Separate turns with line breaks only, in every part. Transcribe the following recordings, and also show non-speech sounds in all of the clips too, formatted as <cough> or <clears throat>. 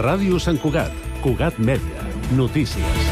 Ràdio Sant Cugat, Cugat Mèdia, notícies.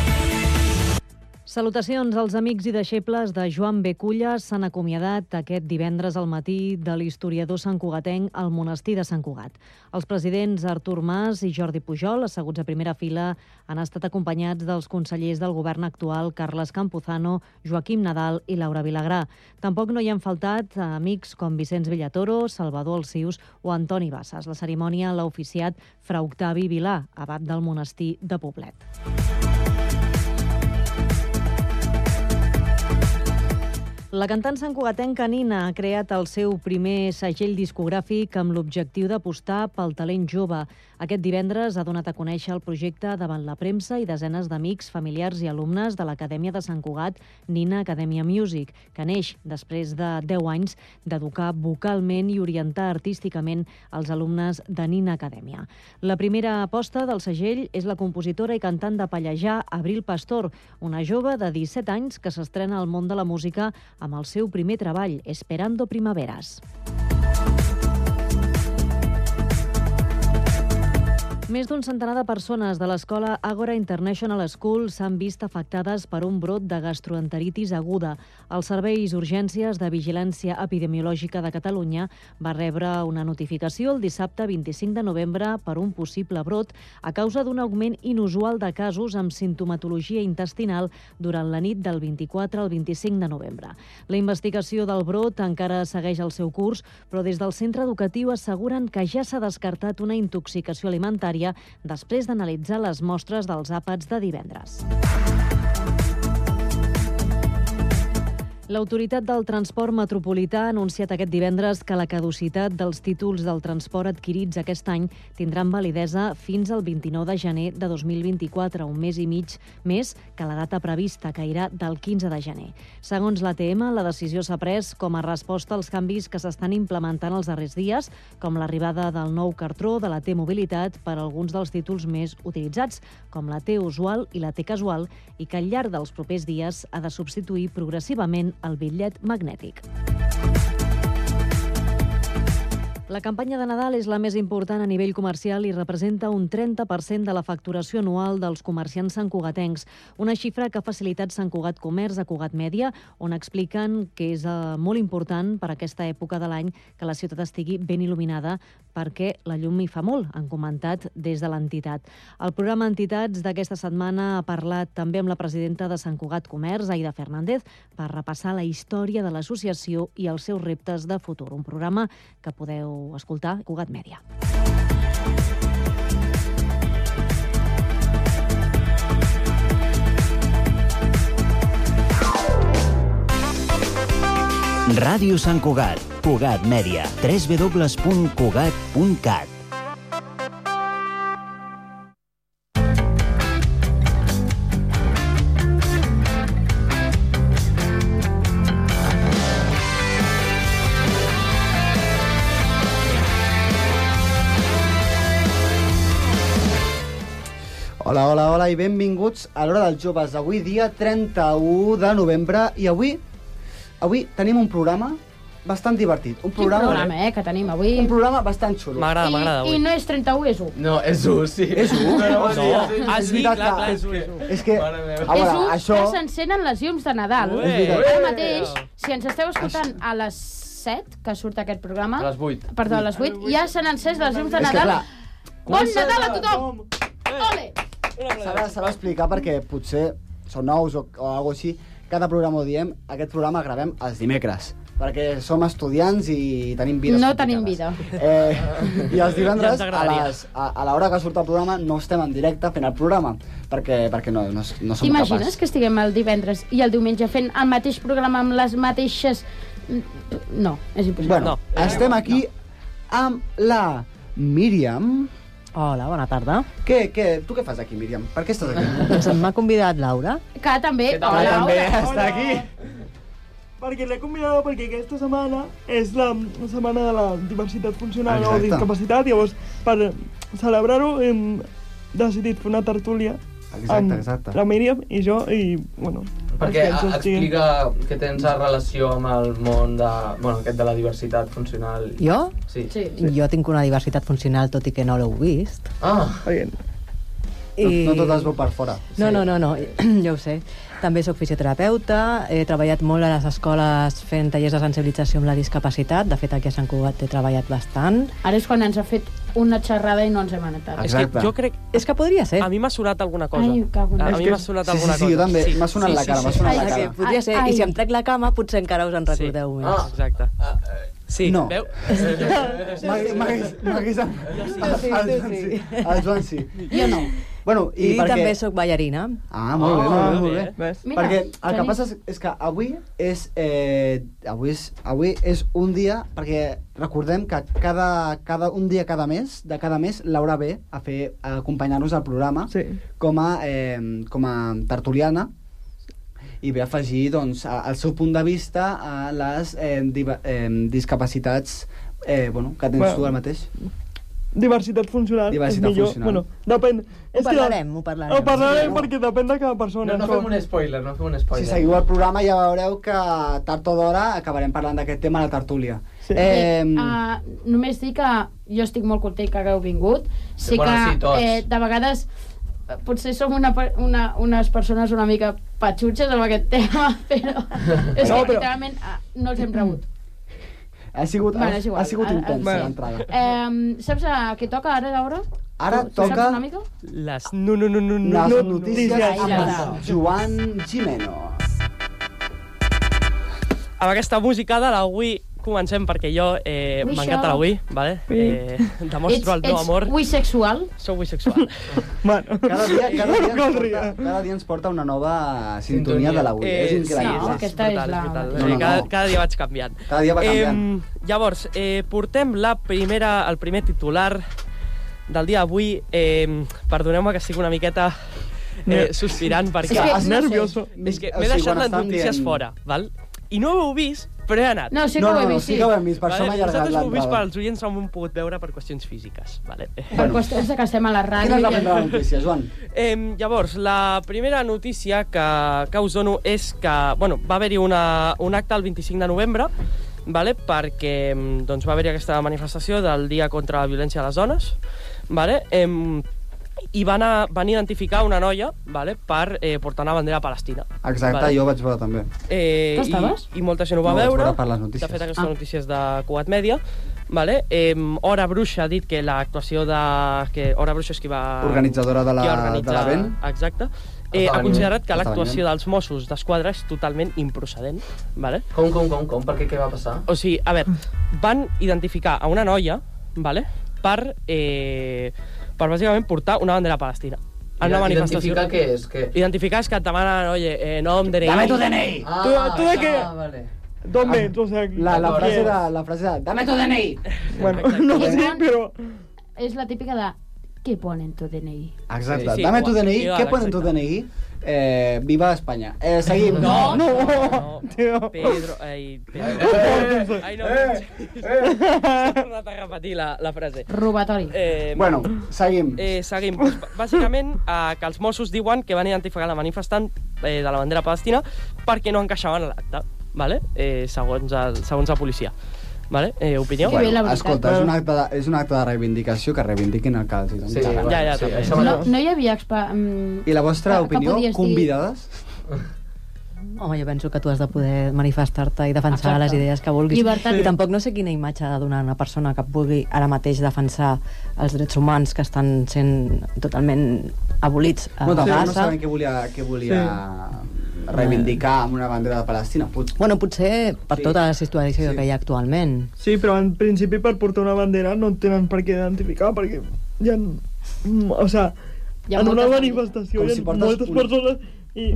Salutacions als amics i deixebles de Joan Beculla. S'han acomiadat aquest divendres al matí de l'historiador santcugatenc al monestir de Sant Cugat. Els presidents Artur Mas i Jordi Pujol, asseguts a primera fila, han estat acompanyats dels consellers del govern actual Carles Campuzano, Joaquim Nadal i Laura Vilagrà. Tampoc no hi han faltat amics com Vicenç Villatoro, Salvador Alcius o Antoni Bassas. La cerimònia l'ha oficiat Fra Octavi Vilà, abat del monestir de Poblet. La cantant santcugatenca Nina ha creat el seu primer segell discogràfic amb l'objectiu d'apostar pel talent jove. Aquest divendres ha donat a conèixer el projecte davant la premsa i desenes d'amics, familiars i alumnes de l'Acadèmia de Sant Cugat, Nina Academia Music, que neix després de 10 anys d'educar vocalment i orientar artísticament els alumnes de Nina Acadèmia. La primera aposta del segell és la compositora i cantant de Pallejà, Abril Pastor, una jove de 17 anys que s'estrena al món de la música amb el seu primer treball, Esperando Primaveras. Més d'un centenar de persones de l'escola Agora International School s'han vist afectades per un brot de gastroenteritis aguda. Els serveis urgències de vigilància epidemiològica de Catalunya va rebre una notificació el dissabte 25 de novembre per un possible brot a causa d'un augment inusual de casos amb sintomatologia intestinal durant la nit del 24 al 25 de novembre. La investigació del brot encara segueix el seu curs, però des del centre educatiu asseguren que ja s'ha descartat una intoxicació alimentària sanitària després d'analitzar les mostres dels àpats de divendres. L'autoritat del transport metropolità ha anunciat aquest divendres que la caducitat dels títols del transport adquirits aquest any tindran validesa fins al 29 de gener de 2024, un mes i mig més que la data prevista, que irà del 15 de gener. Segons l'ATM, la decisió s'ha pres com a resposta als canvis que s'estan implementant els darrers dies, com l'arribada del nou cartró de la T-Mobilitat per alguns dels títols més utilitzats, com la T-Usual i la T-Casual, i que al llarg dels propers dies ha de substituir progressivament el bitllet magnètic. La campanya de Nadal és la més important a nivell comercial i representa un 30% de la facturació anual dels comerciants santcugatencs, una xifra que ha facilitat Sant Cugat Comerç a Cugat Mèdia, on expliquen que és eh, molt important per aquesta època de l'any que la ciutat estigui ben il·luminada perquè la llum hi fa molt, han comentat des de l'entitat. El programa Entitats d'aquesta setmana ha parlat també amb la presidenta de Sant Cugat Comerç, Aida Fernández, per repassar la història de l'associació i els seus reptes de futur. Un programa que podeu podeu escoltar Cugat Mèdia.
Ràdio Sant Cugat, Cugat Mèdia, www.cugat.cat.
Hola, hola, hola i benvinguts a l'Hora dels Joves. Avui dia 31 de novembre i avui avui tenim un programa bastant divertit. Un
Quin
programa,
programa, eh, que tenim avui.
un programa bastant xulo.
M'agrada,
I,
m'agrada
I
avui.
no és 31, és 1.
No, és u, sí.
És u?
No,
No.
no, sí, sí,
Ah,
és
sí,
veritat
clar,
que-
clar, és u, és u.
És que,
Mare
a
meva.
és
veure,
1
això...
que s'encenen les llums de Nadal.
Ué,
veritat.
Ara
ué.
mateix, si ens esteu escoltant a les 7, que surt aquest programa,
A les 8.
perdó, a les 8, ja s'han encès les llums de
És que,
Nadal.
clar,
Bon Nadal a tothom! Ole!
s'ha de- s'ha d'explicar perquè potser són nous o, o alguna així. Cada programa ho diem, aquest programa el gravem els dimecres perquè som estudiants i tenim vides
No
complicades.
tenim vida.
Eh, I els divendres, a,
Ja ens agradaria.
les, a, a l'hora que surt el programa, no estem en directe fent el programa, perquè, perquè no, no, no som
T'imagines
capaç.
que estiguem el divendres i el diumenge fent el mateix programa amb les mateixes... No, és impossible.
Bueno, no. estem aquí amb la Míriam.
Hola, bona tarda.
Què, què, tu què fas aquí, Míriam? Per què estàs aquí?
Doncs m'ha convidat Laura.
Que també...
Que també,
Hola,
també
hola.
està aquí.
Perquè l'he convidada perquè aquesta setmana és la setmana de la diversitat funcional
Exacte.
o discapacitat, llavors per celebrar-ho hem decidit fer una tertúlia amb la Míriam i jo i, bueno,
Perquè
Els que
a-
ens hostin.
explica que tens relació amb el món de, bueno, aquest de la diversitat funcional.
Jo?
Sí.
Sí.
Jo tinc una diversitat funcional, tot i que no l'heu vist.
Ah,
Oye,
I-
No, no tot es veu per fora.
No, no, no, <clears throat> no, jo ho sé. També sóc fisioterapeuta, he treballat molt a les escoles fent tallers de sensibilització amb la discapacitat, de fet aquí a Sant Cugat he treballat bastant.
Ara és quan ens ha fet una xerrada i no ens hem anat.
És que
Exacte. Eh?
jo crec...
És que podria ser.
A mi m'ha sonat alguna cosa.
Ai, cago en
a,
la-
a
És
mi
que-
m'ha sonat
Sí, sí,
alguna
sí,
cosa.
jo també. M'ha sonat la cara, m'ha sonat
Ah,
la
Ai,
que
cara.
podria ser,
Ai.
i si em trec la cama potser encara us en recordeu
Sí.
més.
Ah.
Exacte.
Ah, eh,
Sí,
No. <laughs>
veu?
M'hagués- M'hagués... m'hagués-
sí,
<laughs> El
tu
Joan
sí.
sí. El Joan sí.
Jo no.
Bueno, i,
I,
perquè...
també sóc ballarina.
Ah, molt bé, molt bé, molt bé.
¿ves?
Mira,
perquè el que
tenim-
passa és, és que avui és, eh, avui és, avui és un dia, perquè recordem que cada, cada, un dia cada mes, de cada mes, Laura ve a, fer, a acompanyar-nos al programa
Sí.
com, a, eh, com a tertuliana i ve a afegir doncs, a- el seu punt de vista a les eh, diva, eh, discapacitats eh, bueno, que tens
Bueno.
tu ara mateix.
Diversitat funcional
Diversitat
és millor.
funcional.
Bueno, depèn...
Ho parlarem, ho
Que,
parlarem.
ho parlarem perquè depèn de cada persona.
No, no fem un spoiler, no fem un
Si
spoiler.
seguiu el programa ja veureu que tard o d'hora acabarem parlant d'aquest tema a la tertúlia.
Sí.
Eh,
Em,
uh, només dir que jo estic molt content que hagueu vingut. Sé
Bueno,
que
sí, tots.
eh, de vegades eh, potser som una, per- una, unes persones una mica patxutxes amb aquest <laughs> tema, però és
No,
que
però-
literalment ah, no els hem rebut.
Ha sigut,
Bueno,
ha,
és igual.
ha sigut
Ah, ah,
intens eh,
sí.
l'entrada.
Eh, saps a què toca ara, Laura?
Ara
Tu- tu saps
toca
una mica?
Les no, no, no, no, no,
les
no,
notícies
notícies.
amb el Joan Gimeno.
Amb aquesta música de l'avui comencem perquè jo eh,
Ui,
m'encanta
això.
l'avui, vale? Eh, demostro el meu
ets
amor.
uisexual?
Sou
<laughs>
bisexual.
Bueno,
Cada dia, cada
no
dia, ens
corria.
porta, cada dia ens porta una nova sintonia de l'avui. Eh, és
sí, no,
increïble.
aquesta és la-
brutal.
No, no, no.
Cada, cada dia vaig canviant.
Cada dia va canviant.
Eh, llavors, eh, portem la primera, el primer titular del dia d'avui. Eh, Perdoneu-me que estic una miqueta eh, sospirant
És
perquè...
que-
Estàs nervioso.
És que
O
m'he
sigui,
deixat
quan
les
estàvem
notícies
dient-
fora, val? I no ho heu vist, però he anat.
No, sí que
No,
ho he
no, no,
vist,
sí que ho hem vist, per això m'ha allargat
Vosaltres ho heu vist
l'entrada.
pels oients no m'ho han pogut veure per qüestions físiques, vale? <laughs>
Per qüestions de que estem a la
Quina
ràdio.
és la
i- <laughs>
primera notícia, Joan?
Eh, llavors, la primera notícia que, que us dono és que bueno, va haver-hi una- un acte el 25 de novembre vale, perquè mm, doncs, va haver-hi aquesta manifestació del Dia contra la Violència a les Dones vale, em, i van, a, van identificar una noia vale, per eh, portar una bandera palestina.
Exacte,
Vale.
jo vaig veure també.
Eh,
Tu estaves?
I, I molta gent ho va
No, vaig
veure.
veure per les notícies.
De fet, aquestes
Ah.
ah. notícies de Cugat Mèdia. Vale? Eh, Hora Bruixa ha dit que l'actuació de... Que Hora Bruixa és qui va...
Organitzadora de la-
qui va organitzar-
de l'event.
Exacte. Eh, ha
Esdeveniment.
considerat que
Esdeveniment.
l'actuació dels Mossos d'Esquadra és totalment improcedent. Vale?
Com, com, com, com? Per què què va passar?
O sigui, a veure, van identificar a una noia vale? per, eh, per bàsicament portar una bandera palestina. En una manifestació.
Identificar què és? Que...
Identificar és que et demanen, oye, eh, nom, DNI...
Dame tu DNI!
Ah,
tu de què?
Ah, vale.
d'on vens? O sigui...
La, la
D'acord.
frase de... La frase de... Dame tu DNI!
Bueno, no
Exacte.
sé, però...
És la típica de què ponen tu DNI?
Exacte,
Sí, sí,
dame tu
igual,
DNI,
igual,
què ponen tu
exacte.
DNI? Eh, viva Espanya. Eh, seguim.
No,
no.
no,
tio.
Oh, Pedro, ai, Pedro. ai, no, <laughs> S'ha tornat a repetir la, la frase.
Robatori.
Eh,
Bueno, seguim.
Eh, seguim. Doncs, b- bàsicament, eh, que els Mossos diuen que van identificar la manifestant eh, de la bandera palestina perquè no encaixaven a l'acte, vale? eh, segons, el, segons la policia. Vale? Eh, opinió?
Que bé, la veritat.
escolta, és un, acte de, és un acte de reivindicació que reivindiquin el que els hi doni
Sí,
la gana.
bueno,
ja,
sí,
també.
això
No,
mateix.
no hi havia... Expa... mm,
I la vostra
que- que
opinió,
podies dir-
convidades?
Home, jo penso que tu has de poder manifestar-te i defensar
Exacte.
les idees que vulguis.
Llibertat.
I tampoc no sé quina imatge ha de donar una persona que pugui ara mateix defensar els drets humans que estan sent totalment abolits a
No, tampoc Ah. no
Gaza.
saben què volia, què volia reivindicar amb una bandera de Palestina. Pot...
Bueno, potser per
Sí.
tota la situació
Sí.
que hi ha actualment.
Sí, però en principi per portar una bandera no en tenen per què identificar, perquè hi ha... mm, O sea,
Hi
hi
ha
ha en una
moltes-
manifestació
Com
hi ha
si portes
moltes
un-
persones i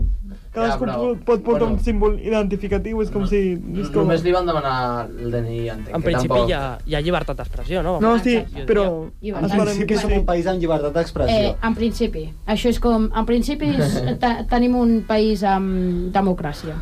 cadascú
però-
pot- pot portar
bueno.
un símbol identificatiu, és com si... És com...
Només li van demanar el DNI, entenc.
En
que
principi
tampoc...
hi ha, hi ha llibertat d'expressió, no?
No, sí,
Exacte.
però...
I
En
per
esperem
principi som un país amb llibertat d'expressió.
Eh, en principi. Això és com... En principi és,
<laughs>
te- tenim un país amb democràcia.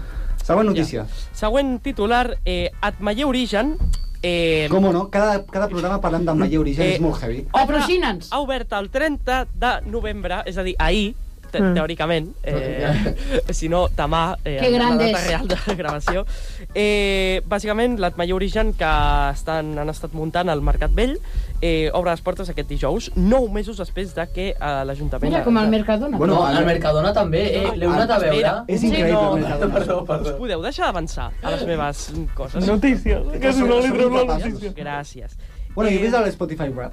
Següent notícia.
Següent titular, eh, Atmayer Origen... Eh,
Com o no? Cada, cada programa parlem del Maia Origen,
Eh,
és molt heavy.
Patrocina'ns!
ha obert el 30 de novembre, és a dir, ahir, te
Mm.
teòricament, eh, si no, demà, eh,
Que
en la
gran
data
és.
real de gravació. Eh, bàsicament, l'Atmallà Origen, que estan, han estat muntant al Mercat Vell, eh, obre les portes aquest dijous, nou mesos després de que eh, l'Ajuntament...
Mira, com el Mercadona.
Bueno,
Bueno,
No,
a
al
ver-
Mercadona també, eh? L'heu anat a
Espera.
veure?
És increïble,
no,
el Mercadona.
Perdó,
Us
perdó.
podeu deixar avançar a les meves coses?
Notícies, que si no li
Som
treu la
incapaços.
notícia.
Gràcies. Eh,
Bueno, jo he vist el Spotify Rap.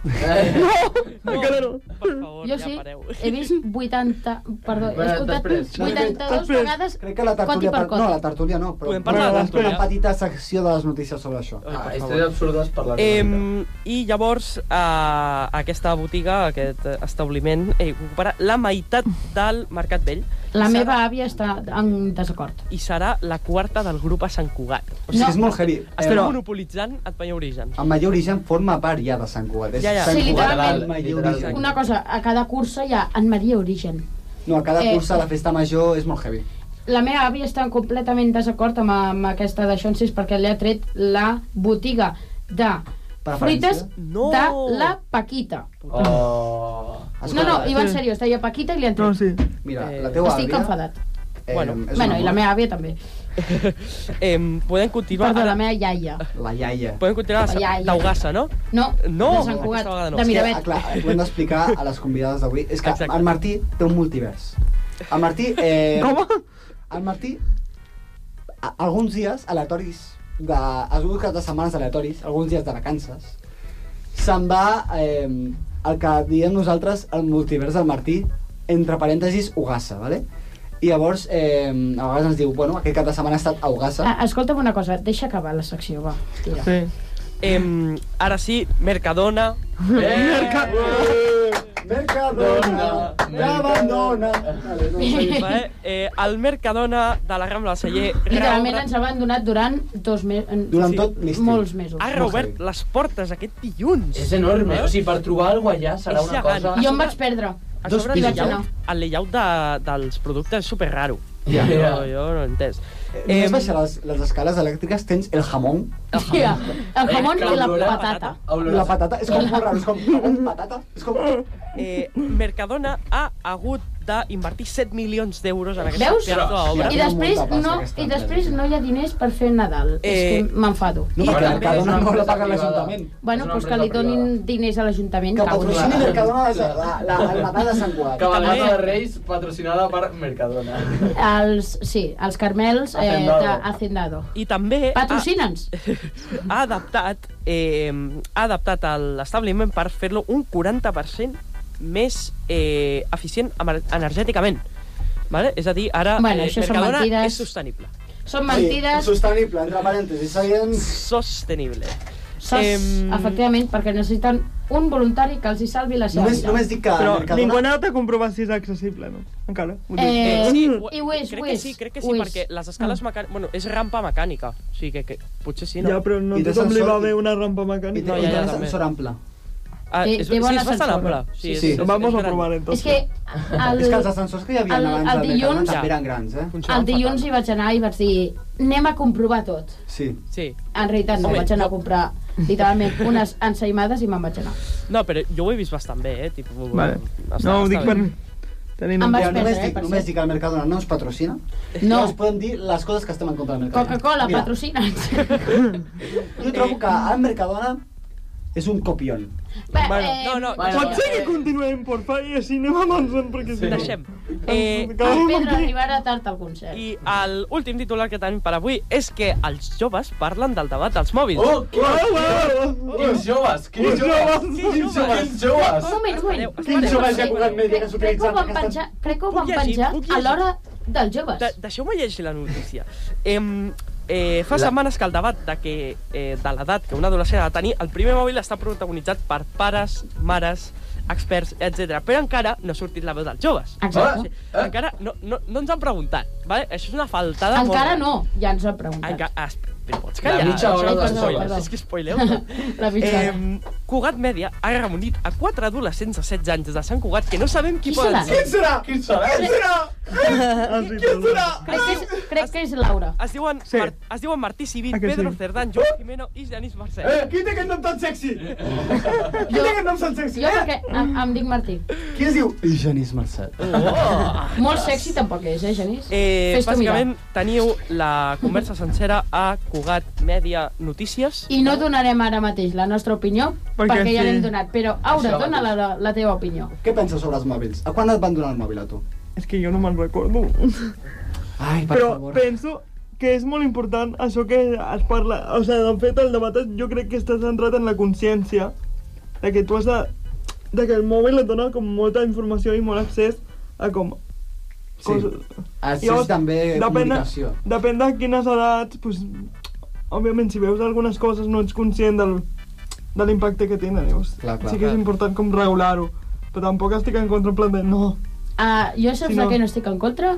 No,
Encara no.
Per favor,
jo
ja
sí,
pareu.
he vist 80... Perdó, he
Bueno,
escoltat
després.
82
Després.
vegades
Crec que la tertúlia...
coti per
par-
coti.
No, la tertúlia no, però...
Podem
de
parlar
la
però Una
tertúlia.
petita secció de les notícies sobre això.
Ai,
Ah,
per
històries
favor.
absurdes per la realitat.
Eh, I llavors eh, aquesta botiga, aquest eh, establiment, eh, ocuparà la meitat del Mercat Vell
La
Sara.
meva àvia està en desacord.
i serà la quarta del grup a Sant Cugat.
O sigui,
No.
és molt heavy.
Estem
Però-
monopolitzant et veia origen.
El Mallor Origen forma part ja de Sant Cugat. És
Ja, ja.
Sant
Sí,
Cugat,
literalment.
el Mallor
Literalment.
Origen.
Una cosa, a cada cursa hi ha en Maria Origen.
No, a cada
Eh.
cursa la festa major és molt heavy.
La meva àvia està completament desacord amb, amb aquesta de Xonsis perquè li ha tret la botiga de
Preferència?
fruites
No.
de la Paquita.
Oh.
No, no,
Escolta, eh,
i va en seriós, deia Paquita i li han
No,
tret.
sí.
Mira,
Eh,
la teua
Estic
àvia...
enfadat.
eh,
Bueno,
és una
Bueno, i la
mort.
meva àvia també.
Eh, podem continuar...
Perdó,
ara-
la meva iaia.
La iaia.
Podem continuar a
La
Sa-
iaia.
d'Augassa, no?
No,
No,
de Sant Cugat,
aquesta vegada no.
de
És que,
Miravet.
ah, clar, ho hem d'explicar a les convidades d'avui. És que
Exacte.
el Martí té un multivers. El Martí... Eh,
Com?
El Martí, a, alguns dies aleatoris, de, alguns caps de setmanes aleatoris, alguns dies de vacances, se'n va eh, el que diem nosaltres el multivers del Martí, entre parèntesis, Ugassa, ¿vale? I llavors, eh, a vegades ens diu, bueno, aquest cap de setmana ha estat a Ugassa.
Ah, escolta'm una cosa, deixa acabar la secció, va. Tira.
Sí.
Eh, ara sí, Mercadona.
Mercadona, m'abandona. Vale, no, seguim.
<laughs>
Eh, eh, el Mercadona de la Rambla del Celler
Literalment
reobre-
ens abandonat durant dos mesos.
Durant tot l'estiu.
Molts mesos.
ha
Molt
reobert
heavy.
les portes aquest dilluns. Eh?
És enorme. O sigui, per trobar alguna cosa allà serà
És
una
gegant.
cosa...
Jo em vaig perdre.
A
Dos
sobre el
pisos, no?
layout, el layout de, dels productes és super raro.
Ja.
Jo, jo no he entès.
Eh, Només baixar les, les escales elèctriques tens el jamón,
Ah,
Tia, el jamón
Eh,
i la
olor a
patata.
Olor a
la patata, és com molt raro, és com jamón, patata, és com...
Eh, Mercadona ha hagut d'invertir 7 milions d'euros en aquesta
Veus?
pedazo d'obra.
Ja.
I després,
Molta pasta,
no,
aquesta
i després no hi ha diners per fer Nadal. És
Eh,
que m'enfado.
No,
I
perquè
també
Mercadona
és una
no la
empresa
paga
privada.
l'Ajuntament.
Bueno,
És una
doncs que
empresa
li donin
privada.
diners a l'Ajuntament.
Que
cabrons.
patrocini
clar.
Mercadona la, la, la, el Nadal de Sant Cugat.
Cabalgata de Reis patrocinada per Mercadona.
Els, sí, els carmels eh,
Hacendado.
de Hacendado.
I Ah. també ha,
Patrocina'ns.
<laughs> ha adaptat, eh, ha adaptat el- l'establiment per fer-lo un 40% més eh, eficient emer- energèticament. Vale? És a dir, ara
Bueno,
eh,
això són
Mercadona
mentides.
és sostenible.
Són mentides.
Sostenible, entre parèntesis. Seguim...
Sostenible.
Sos,
Em-
efectivament, perquè necessiten un voluntari que els hi salvi la seva
Només,
vida.
només dic que
Però
Mercadona...
ningú ha anat a comprovar si és accessible, no? Encara. Ho dic.
Eh,
ho-
i ho és,
crec
ho
que
és,
sí, crec que
ho
sí,
és. Mm.
perquè les escales mecàniques... Bueno, és rampa mecànica, o sigui que, que potser sí, no?
Ja, però no
I
a
té
tothom li va
sensor i-
bé una rampa
I té,
mecànica.
No,
no,
ja,
ja,
ja, també.
sensor ample.
Ah,
Té-
és,
té
sí,
bon
és bastant
ascensor.
ample. Sí,
Sí,
és,
sí.
és,
Vamos a
gran.
probar eh. entonces.
És que el,
És que els ascensors que hi havia
el-
abans
el
de Mercadona
dilluns-
també eren grans, eh?
Funciona
el dilluns hi
fatal.
vaig anar i vaig dir anem a comprovar tot.
Sí.
Sí.
En realitat no,
Home,
vaig anar
jo-
a comprar literalment unes ensaïmades i me'n vaig anar.
No, però jo ho he vist bastant bé, eh? Tipo,
Vale.
està-
No, ho
està
dic
bé.
per... Tenint
Em
en
vaig
Mira,
compte.
perdre,
només,
eh,
dic,
per
només
cert.
dic que el Mercadona no ens patrocina.
No.
Llavors podem dir les coses que estem en contra del Mercadona.
Coca-Cola,
Mira,
patrocina'ns.
Jo trobo que el Mercadona és un copion.
Bé,
Bueno,
eh,
no, no,
Bueno,
Pot ser que continuem, por favor, i així anem avançant, perquè... si
Sí.
no-
Deixem. Eh,
El
Acabem
Pedro
aquí.
arribarà tard al concert. I...
I l'últim titular que tenim per avui és que els joves parlen del debat dels mòbils.
Oh,
Uau,
quins
uau, uau.
joves!
Quins
Quins joves!
joves!
Quins joves! Quins joves!
Un moment, un
Espereu,
moment.
espereu.
Quins joves de Cugat Mèdia que
Crec, crec que ho
s'utilitzen
van
aquestes-
penjar, crec que ho
Puc
van
llegir,
penjar
puc
a
llegir.
l'hora dels joves.
De Deixeu-me llegir la notícia. Em, eh, fa
La-
setmanes que el debat de, que, eh, de l'edat que un adolescent ha de tenir, el primer mòbil està protagonitzat per pares, mares, experts, etc. Però encara no ha sortit la veu dels joves.
Exacte.
Ah, eh?
Encara no, no, no ens han preguntat. Vale? Això és una faltada molt eh?
Encara
gran.
no, ja ens ho han preguntat.
Enca ah, es, però pots
La
callar.
mitja hora
Això
dels
és
joves.
spoiler, És que spoileu.
<laughs> La mitja hora.
Em, Cugat Mèdia ha reunit a quatre adolescents de 16 anys de Sant Cugat que no sabem qui,
Qui
poden
seran?
ser.
Quins serà? Quins serà? Quins serà?
Ah, sí, perdó.
Crec que és, crec que és Laura.
Es diuen,
Sí.
sí. es diuen Martí Civit,
Ah, que
Pedro
sí?
Cerdán, Joan
Oh!
Jimeno i Genís Mercè.
Eh, <laughs>
qui té aquest nom tan sexy? Qui
Jo-
nom tan sexy?
Jo perquè em, em dic Martí.
Eh? Qui es diu? Genís Mercè.
Oh.
Molt sexy tampoc és, eh, Genís?
Eh,
Fes-t'ho mirar.
bàsicament, teniu la conversa sencera a Cugat Mèdia Notícies.
I no donarem ara mateix la nostra opinió,
Perquè
perquè, ja
sí.
l'hem donat. Però, Aura,
Això
dona la, la, la teva opinió.
Què penses sobre els mòbils? A quan et van donar el mòbil a tu?
És que jo no me'n recordo.
Ai, per
Però
favor.
penso que és molt important això que es parla. O sigui, de fet, el debat es- jo crec que està centrat en la consciència. De que tu has de... De que el mòbil et dona com molta informació i molt accés a com...
Sí. Accés també comunicació.
Depèn de quines edats, doncs, òbviament, si veus algunes coses no ets conscient del, de l'impacte que tenen. Llavors,
Clar, clar,
sí que
clar.
és important com regular-ho. Però tampoc estic en contra en plan de no.
Uh, jo saps
Si
no.
no-
de què no estic en contra?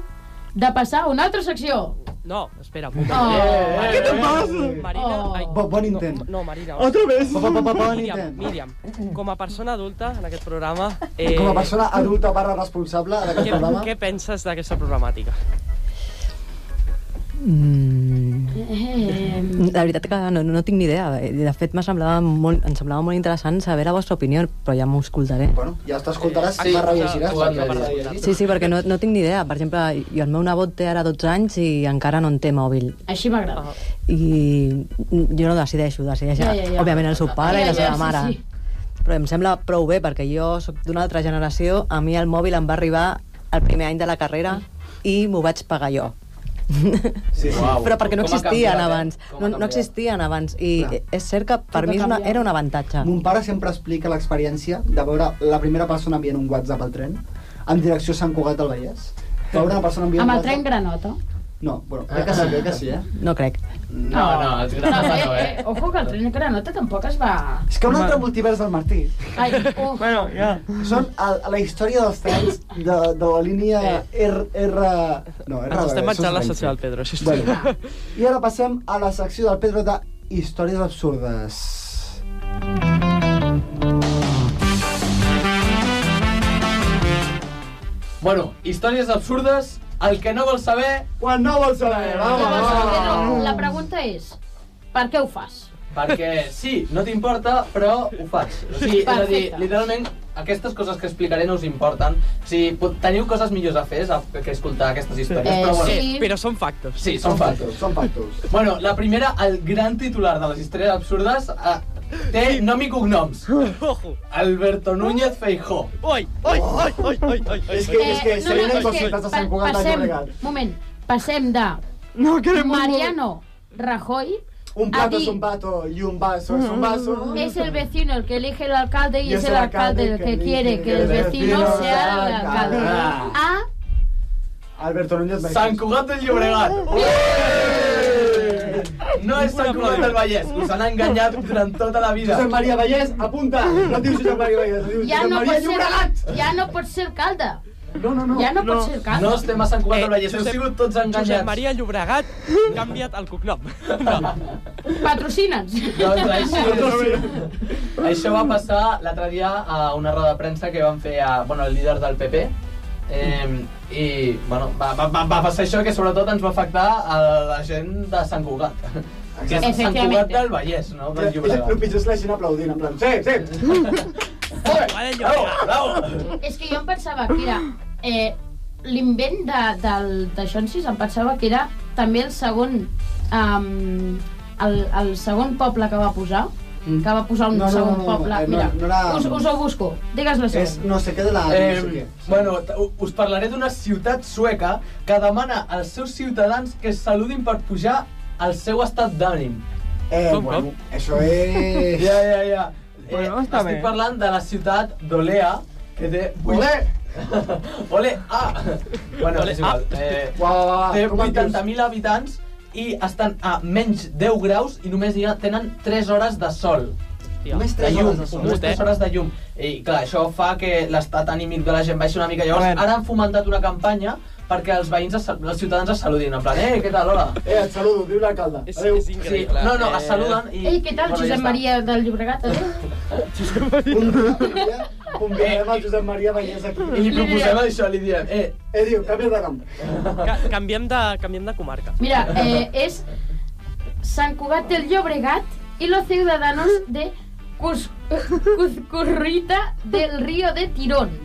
De passar a una altra secció.
No, espera, puta.
Oh.
Eh, Què te passa?
Marina...
Oh.
Ai,
Bo- bon intent.
No, no Marina.
Otra vez.
Pa, pa, pa, pa, bon
Míriam,
intent.
Míriam, com a persona adulta en aquest programa... Eh,
Com a persona adulta barra responsable d'aquest
Què,
programa...
què penses d'aquesta problemàtica?
Mm,
Eh,
la veritat que no, no tinc ni idea. De fet, m'ha semblava molt, em semblava molt interessant saber la vostra opinió, però ja m'ho escoltaré.
Bueno, ja els t'escoltaràs i
Sí,
la rellegiràs.
ho han
perquè
de
l'has
dir.
llegir.
Sí, sí, perquè no, no tinc ni idea. Per exemple, jo el meu nebot té ara 12 anys i encara no en té mòbil.
així m'agrada.
I jo no decideixo, decideix,
Ja, ja, ja.
òbviament, el seu pare
Ja,
i la
ja,
seva
sí,
mare.
sí.
Però em sembla prou bé, perquè jo sóc d'una altra generació, a mi el mòbil em va arribar el primer any de la carrera i m'ho vaig pagar jo.
Sí, sí.
Però perquè no
com ha
existien
canviat, eh?
abans.
Com ha
No, no
canviat.
existien abans. I
Clar.
és cert que per
ha
mi és una,
canviat.
era un avantatge.
Mon pare sempre explica l'experiència de veure la primera persona enviant un WhatsApp al tren en direcció a Sant Cugat del Vallès. Veure una persona
Ah.
enviant
Amb el
un
tren
WhatsApp...
Granota.
No, bueno, crec que sí, crec que
Ah.
sí, eh?
No crec.
No, no, els grans no,
eh, <laughs> eh,
eh?
ojo que el tren Granota tampoc es va...
És que un altre multivers del Martí
Ai, oh,
Bueno, ja.
són a, a la història dels trens de, de la línia R... R... No, R...
Eh. Ens estem
això és
menjant la
Renfe.
secció del Pedro, sisplau.
Bueno, I ara passem a la secció del Pedro de històries absurdes.
Bueno, històries absurdes, el que no vols saber,
Quan no vols saber,
no
vamos,
vas al Pedro.
vamos.
La pregunta és, per què ho fas?
perquè sí, no t'importa, però ho faig. O sigui, és a dir,
Perfecte.
literalment, aquestes coses que explicaré no us importen. O sigui, pot- teniu coses millors a fer a- que escoltar aquestes històries,
Eh,
però bueno,
sí.
Però són factos.
sí, són
Són
factos.
factos, són factos.
Bueno, la primera, el gran titular de les històries absurdes, eh, té nom i cognoms.
Ojo!
Alberto Núñez Feijó.
Oi, oi, oi, oi, oi, oi, oi.
És que, és que
Eh,
se venen
és que
cositas de
pa-
Sant Cugat del
passem-
Llobregat.
Moment, passem de
No queremos...
Mariano Rajoy
Un plato
a
es
dir,
un pato y un vaso es un vaso.
Es el vecino el que elige el alcalde y, es el alcalde el que quiere que el vecino sea el alcalde.
Ah.
A
Alberto Núñez Baixos.
Sant Cugat del Llobregat. No és Sant Cugat del Vallès, us han enganyat durant tota la vida.
Josep Maria Vallès, apunta. No et dius Josep Maria Vallès, et dius
ja
Josep
no
Maria
pot ser
Llobregat.
ja no pot ser alcalde.
No, no, no.
Ja no, pot ser
No
alcalde.
estem a Sant Cugat del
Eh,
Vallès, heu
Josep-
sigut tots
Josep
enganyats. <laughs>
Maria Llobregat ha canviat el cognom.
Patrocina'ns.
Doncs així, això va passar l'altre dia a una roda de premsa que van fer a, bueno, el líder del PP eh, i bueno, va, va, va, va passar això que sobretot ens va afectar a la gent de Sant Cugat que és Sant Cugat
Efectivament.
del Vallès, no? Del
El
Llobregat.
pitjor és la gent aplaudint, en plan, sí, sí.
Vale, Llobregat.
Bravo!
És que jo em pensava que era eh, l'invent de, del, de Xonsis, em pensava que era també el segon um, el, el segon poble que va posar que va posar un
Mm. No, no,
segon
no, no,
poble.
eh, no,
Mira,
no era-
us, us ho busco. Digues la
És
segona.
no sé què de la... no sé
Eh,
què.
bueno, t- u- us parlaré d'una ciutat sueca que demana als seus ciutadans que es saludin per pujar al seu estat d'ànim.
Eh,
com,
bueno,
com?
això <laughs> és...
Ja, ja, ja. Eh,
Bueno, està
estic
bé.
parlant de la ciutat d'Olea, que té... Olé! <laughs> Olé, ah! Bueno,
Olé,
és igual. Eh,
Uau, uau, uau,
té
com et dius?
80.000 habitants i estan a menys 10 graus i només hi ha, tenen 3 hores de sol.
Només
De
tres
llum,
hores de sol.
unes
Mut, eh?
3 hores de llum. I clar, això fa que l'estat anímic de la gent baixi una mica. Llavors,
Bueno.
ara han fomentat una campanya perquè els veïns, es, sal- els ciutadans es saludin, en plan, eh, què tal, hola?
Eh, et saludo, diu l'alcalde.
És,
Adéu.
és
Sí,
increïble.
no, no,
Eh,
es saluden i...
Ei, què tal,
bueno, ja
Josep
està.
Maria del Llobregat? Adéu.
<laughs> Un dia convidarem el Josep Maria Vallès
I
<laughs>
aquí.
li proposem això, li diem, eh,
Eh, diu, canvia de nom.
Ca canviem, de, canviem de comarca.
Mira, eh, és Sant Cugat del Llobregat y los ciudadanos de Cus- Cuzcurrita del Río de Tirón.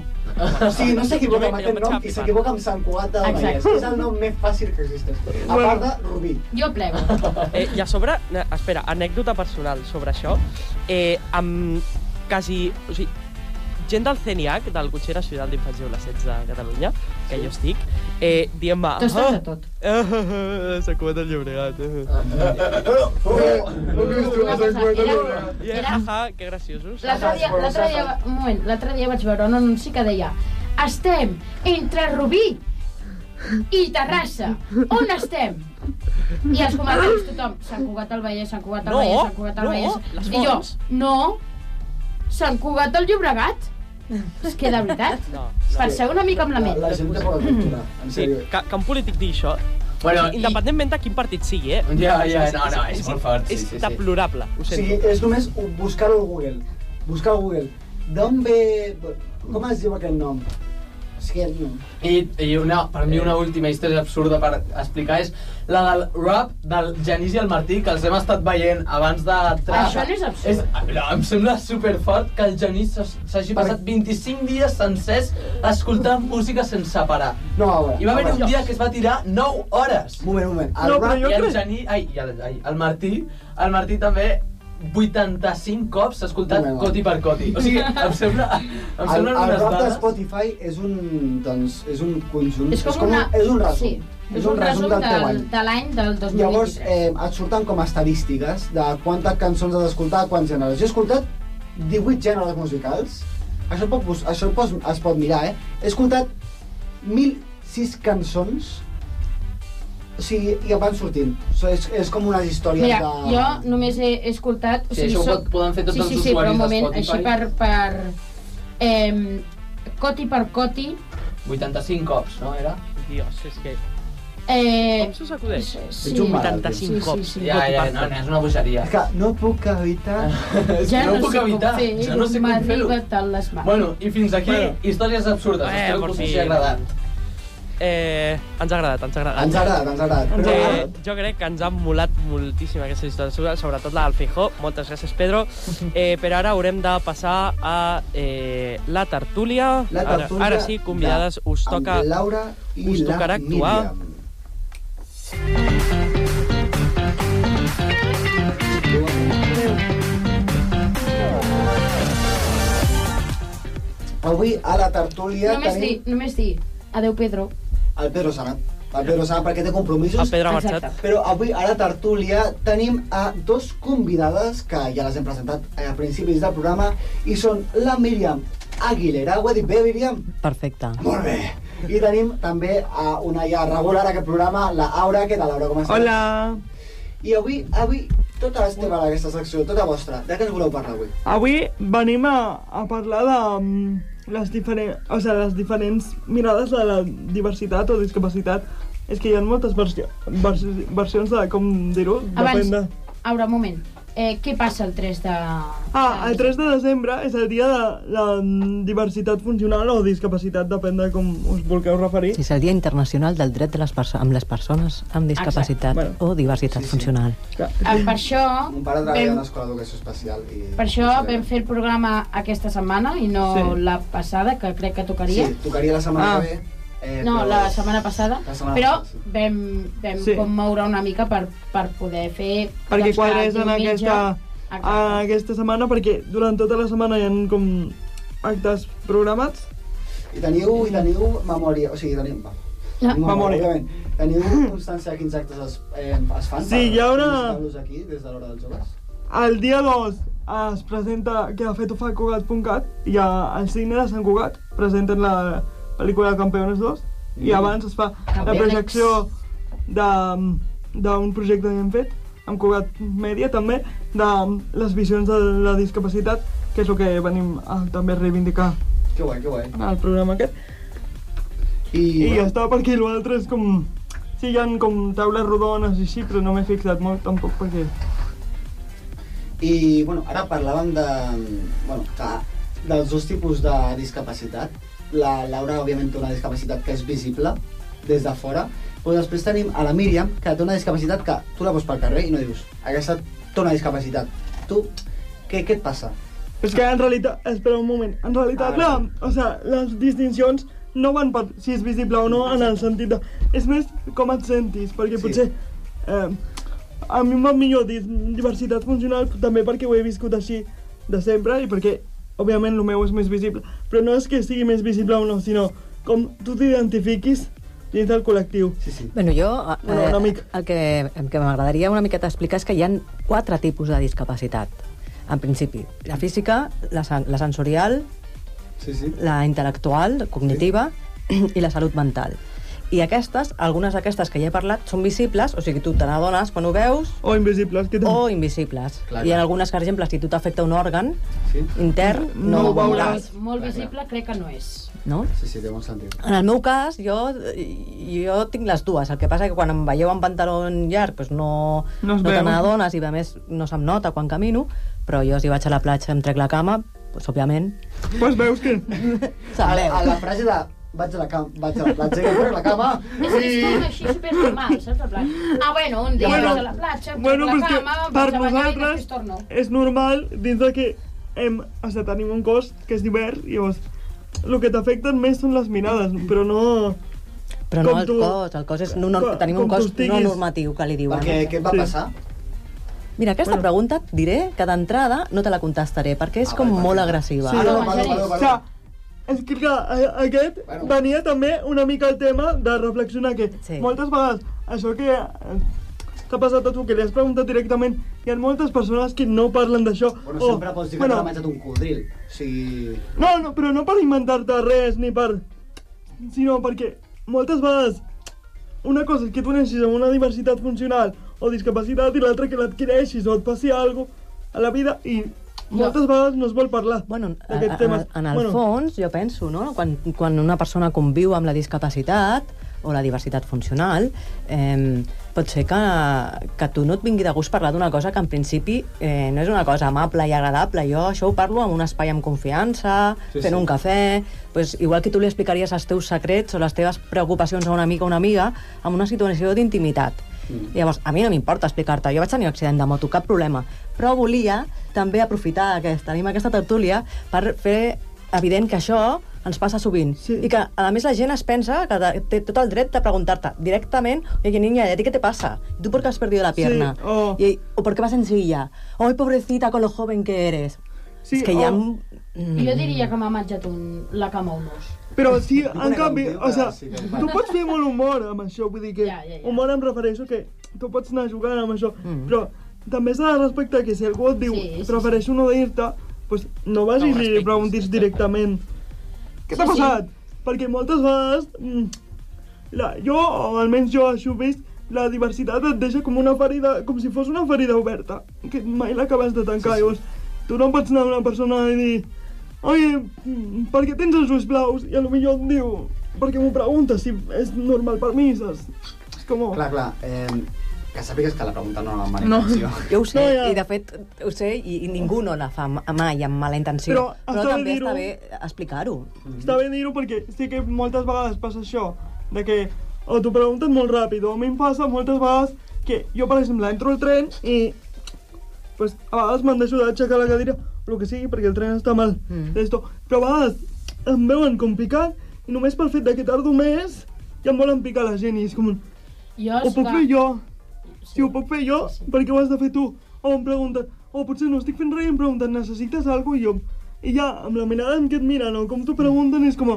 O sigui, no s'equivoca
Jo
amb
me- jo
aquest
em
nom
vaig
i
flipar.
s'equivoca amb Sant Cugat del
Exacte.
Vallès. que És el nom més fàcil que existeix. A
Bueno.
part de Rubí.
Jo plego.
Ah.
Eh, I a sobre, eh, espera, anècdota personal sobre això. Eh, amb quasi... O sigui, gent del CENIAC, del Cotxera Ciutat d'Infants i Adolescents de Catalunya, que jo estic, eh, dient-me...
Tu estàs de tot.
Ah, ah, ah, <laughs> s'ha comat el Llobregat. Ah.
Una cosa, era,
I, eh,
era,
ah, que graciosos.
L'altre dia, l'altre dia, un moment, l'altre dia vaig veure un anunci que deia Estem entre Rubí i Terrassa. On estem? I els comandants, tothom, Sant Cugat al Vallès, Sant Cugat al
No,
Vallès, Sant Cugat al
no,
Vallès.
les
I jo,
fonts.
no, Sant Cugat al Llobregat. És que de veritat,
No.
penseu una mica amb la
La,
ment.
la gent de poca cultura, en
Sí,
sèrio.
que, que un polític digui això,
Bueno, i-
independentment de quin partit sigui, eh?
Ja, ja, no, no, és molt fort, sí,
És
sí, sí.
deplorable, ho
O
sento.
sigui, és només un- buscar-ho a Google. Buscar a Google. D'on ve... Com es diu aquest nom? O sigui, el nom.
I, i una, per mi una última història absurda per explicar és la del rap del Genís i el Martí, que els hem estat veient abans de... Trap.
Això no és absurd.
És, no, em sembla superfort que el Genís s'ha- s'hagi passat 25 dies sencers escoltant música sense parar.
No, a veure.
I va
a
haver un
veure.
dia que es va tirar 9 hores.
Un moment, un moment. El
No,
rap...
però jo
I el
crec-
Genís... Ai, i el, ai, el Martí... El Martí també 85 cops s'ha escoltat
Bueno.
coti per coti. O sigui, em sembla... Em
El,
semblen
el
unes
rap de
dades...
Spotify és un, doncs, és un conjunt...
És com una...
un, és un resum.
Sí, és un resum
del teu
del,
any.
de l'any del 2023.
Llavors, eh, et surten com a estadístiques de quantes cançons has escoltat, quants gèneres. Jo he escoltat 18 gèneres musicals. Això, pot, bus- això pot, es pot mirar, eh? He escoltat 1.006 cançons. O sigui, i em van sortint. O sigui, és, és com unes històries
Mira,
de...
jo només he, he escoltat... O
Sí, això ho
soc-
pot- poden fer tots
sí,
els
sí, sí,
usuaris
però un moment,
de
així
Spotify.
per... per eh, coti per coti...
85 cops, no era?
Dios, és que...
Eh,
Com s'ho s'acudeix?
sí,
un malalt,
85
sí,
cops.
sí.
un
Ja,
goti
ja,
per
no,
coti.
no, és una bogeria.
És que no puc evitar...
És que
Ja no,
ho puc
sé
evitar,
com fer,
ja no sé com fer-ho.
M'arriba tant les mans.
Bueno, i fins aquí,
Bueno.
històries absurdes.
Eh,
Espero que
por
us
fi.
hagi agradat.
Eh, ens ha agradat, ens ha agradat.
Ens ha agradat, ens ha agradat. Però,
Eh, jo crec que ens han molat moltíssim aquestes històries, sobretot la del Feijó. Moltes gràcies,
<laughs>
Pedro. Eh, però ara haurem de passar a eh, la tertúlia.
la tertúlia
Ara, ara sí, convidades,
de-
us toca...
Amb Laura i
us
la
tocarà actuar.
Míriam. Avui a la tertúlia
només dir,
tenim
només dir, adeu Pedro.
el Pedro Sanat. El Pedro Sanat perquè té
El
compromisos.
Pedro ha
Exacte.
marxat.
Però avui a la tertúlia tenim a dos convidades que ja les hem presentat a principis del programa i són la Míriam Aguilera. Ho he dit bé, Míriam?
Perfecte.
Molt bé. I tenim també a una ja regular a aquest programa, la Aura. Què tal, Aura? Com estàs?
Hola!
I avui, avui, tota l'esteva d'aquesta secció, tota vostra, de què ens voleu parlar avui?
Avui venim a, a parlar de mm, les, diferents, o sigui, les diferents mirades de la diversitat o discapacitat. És que hi ha moltes versió, vers, versions de com dir-ho.
Abans,
depèn de...
Aura, un moment. Eh, què passa el 3 de...
Ah, el 3 de desembre és el dia de la mm, diversitat funcional o discapacitat, depèn de com us vulgueu referir.
Sí, és el Dia Internacional del Dret de les perso amb les Persones amb Discapacitat
Exacte.
o Diversitat
Sí, sí.
Funcional.
Que-
Ah, per això...
Mon pare treballa en
vam-
una escola d'educació especial i...
Per això vam fer el programa aquesta setmana i no
Sí.
la passada, que crec que tocaria.
Sí, tocaria la setmana
Ah.
que ve. Eh,
No,
però-
la setmana passada,
La setmana
però
passada, sí.
vam, vam
Sí.
com moure una mica per, per poder fer...
perquè
doncs,
quadrés en
cada diumenge-
aquesta, en
Exacte.
aquesta setmana, perquè durant tota la setmana hi ha com actes programats.
I teniu, i teniu memòria, o sigui, teniu... Va.
No.
Memòria.
Memòria.
òbviament. Teniu constància de quins actes es, eh, es fan?
Sí, hi ha una-
los aquí, des de l'hora dels joves?
El dia 2 es presenta que ha fet ho fa Cugat.cat i a- al cine de Sant Cugat presenten la pel·lícula Campeones 2 i
Mm.
abans es fa la
Campeones.
projecció de- d'un projecte que hem fet amb Cugat Mèdia també de les visions de la discapacitat que és el que venim a també reivindicar
Que guai, que guai.
en el programa aquest
I,
i ja
bueno,
està perquè l'altre és com sí, hi ha com taules rodones i així però no m'he fixat molt tampoc perquè
I, bueno, ara parlàvem de, bueno, que dels dos tipus de discapacitat. La Laura, òbviament, té una discapacitat que és visible des de fora, però després tenim a la Míriam, que té una discapacitat que tu la veus pel carrer i no dius, aquesta té una discapacitat. Tu, què, què et passa?
Però és que en realitat... Espera un moment. En realitat, la, o sea, les distincions no van per si és visible o no en el sentit de... És més com et sentis, perquè
Sí.
sí. potser... Eh, a mi m'ha millor dir diversitat funcional també perquè ho he viscut així de sempre i perquè, òbviament, el meu és més visible. Però no és que sigui més visible o no, sinó com tu t'identifiquis dins del col·lectiu.
Sí, sí.
Bueno, jo, eh,
Bueno, un amic.
el que, el que m'agradaria una miqueta explicar és que hi ha quatre tipus de discapacitat, en principi. La física, la, sen- la sensorial,
Sí, sí.
la intel·lectual, cognitiva, i la salut mental. I aquestes, algunes d'aquestes que ja he parlat, són visibles, o sigui, tu te n'adones quan ho veus,
O invisibles, que també...
o invisibles.
Clar,
Hi
clar.
ha algunes que, per exemple, si tu t'afecta un òrgan
Sí.
intern, no,
No ho
veuràs,
veuràs.
Molt visible crec que no és.
No?
Sí, sí, té bon sentit.
En el meu cas, jo, jo tinc les dues. El que passa que quan em veieu amb pantaló llarg doncs no,
No es
no te
veu.
n'adones i, a més, no se'm nota quan camino, però jo si vaig a la platja em trec la cama, doncs, òbviament,
Pues veus que...
se'm
A,
veu.
a la frase de vaig a la, cam vaig a la platja i em trec la cama...
És que és tot així supernormal, saps? En plan, ah, bueno, un dia
Bueno,
bueno, a la platja,
Bueno,
bueno, la
però és que
cama,
per
vaig a ballar i
nosaltres
després torno.
és normal dins de que hem, o sigui, tenim un cos que és divers i llavors el que t'afecten més són les mirades, però no...
Però no
com
el
tu-
cos, el cos és... No, no,
com-
tenim un
com
cos
tu estiguis.
no normatiu, que li diuen.
Perquè què et va
Sí.
passar?
Mira, aquesta
Bueno.
pregunta et diré que d'entrada no te la contestaré, perquè és
Ah,
com
vale,
molt
perfecte.
agressiva.
Sí.
Ah, no,
no,
perdó,
en
perdó,
sèrio.
O
perdó.
sigui, és que clar, a- aquest
Bueno.
venia també una mica el tema de reflexionar que
Sí.
moltes vegades això que eh, t'ha passat a tu, que li has preguntat directament, hi ha moltes persones que no parlen d'això.
Bueno,
o-
sempre pots dir que
Oh, bueno,
t'ha menjat un codril. O sigui...
No, no, però no per inventar-te res, ni per... Sinó perquè moltes vegades una cosa és que tu neixis amb una diversitat funcional o discapacitat i l'altra que l'adquireixis o et passi alguna cosa a la vida i moltes vegades no es vol parlar
Bueno, a-
d'aquests
a- en,
temes.
el, en el bueno. fons, jo penso, no? quan, quan una persona conviu amb la discapacitat o la diversitat funcional, eh, pot ser que, que a tu no et vingui de gust parlar d'una cosa que en principi eh, no és una cosa amable i agradable. Jo això ho parlo en un espai amb confiança, sí, fent sí. un cafè... Pues, igual que tu li explicaries els teus secrets o les teves preocupacions a un amic o una amiga en una situació d'intimitat. Mm. Llavors, a mi no m'importa explicar-te, jo vaig tenir un accident de moto, cap problema, però volia també aprofitar aquesta, tenim aquesta tertúlia per fer evident que això ens passa sovint.
Sí.
I que, a més, la gent es pensa que de- té tot el dret de preguntar-te directament «Oye, niña, ¿y a ti qué te pasa? ¿Y ¿Tú por qué has perdido la
Sí,
pierna?
o-
y, ¿O por qué vas en silla? ¡Ay, pobrecita, con lo joven que eres!
Sí,
és que hi ha...
o-
Mm,
Jo diria que m'ha menjat un, la cama un os.
<laughs> Però sí, en
Una
canvi,
candiota,
o
sí
sigui,
que ho fa.
tu pots fer molt humor amb això, vull dir que
Ja, ja, ja.
humor em refereixo que tu pots anar jugant amb això,
Mhm.
però també s'ha de respectar que si algú et diu
Sí, sí,
prefereixo no dir-te, doncs no vagis i
No ho
li
respectis,
preguntis
exacte.
directament què t'ha
Sí, sí.
passat? Perquè moltes vegades, mm, la, jo, o almenys jo això ho he vist, la diversitat et deixa com una ferida, com si fos una ferida oberta, que mai l'acabes de tancar. Sí, sí. Llavors, tu no pots anar a una persona i dir Oi, mm, per què tens els ulls blaus? I a lo millor et diu, perquè m'ho pregunta si és normal per mi, saps? És com... oh,
Clar, clar, eh, que sàpigues que la pregunta no era amb mala
<laughs>
intenció.
Jo ho sé,
No,
no,
ja.
ja. i de fet ho sé, i, i ningú no la fa ma- mai amb mala intenció.
Però
però
està bé
també
dir-ho.
està bé explicar-ho.
Està bé dir-ho perquè sí que moltes vegades passa això, de que o t'ho pregunten molt ràpid, o a mi em passa moltes vegades que jo, per exemple, entro al tren i pues, a vegades me'n deixo d'aixecar la cadira, el que sigui, perquè el tren està mal.
Mm.
Mm. Però a vegades em veuen com picat i només pel fet de que tardo més ja em volen picar la gent i és com... un,
Jo,
Ho puc fer jo? Si ho puc fer jo,
Sí, sí.
per què ho has de fer tu? O em pregunten, o potser no estic fent res i em pregunten, necessites alguna cosa? I, jo, I ja, amb la mirada en què et miren o com t'ho pregunten, és com,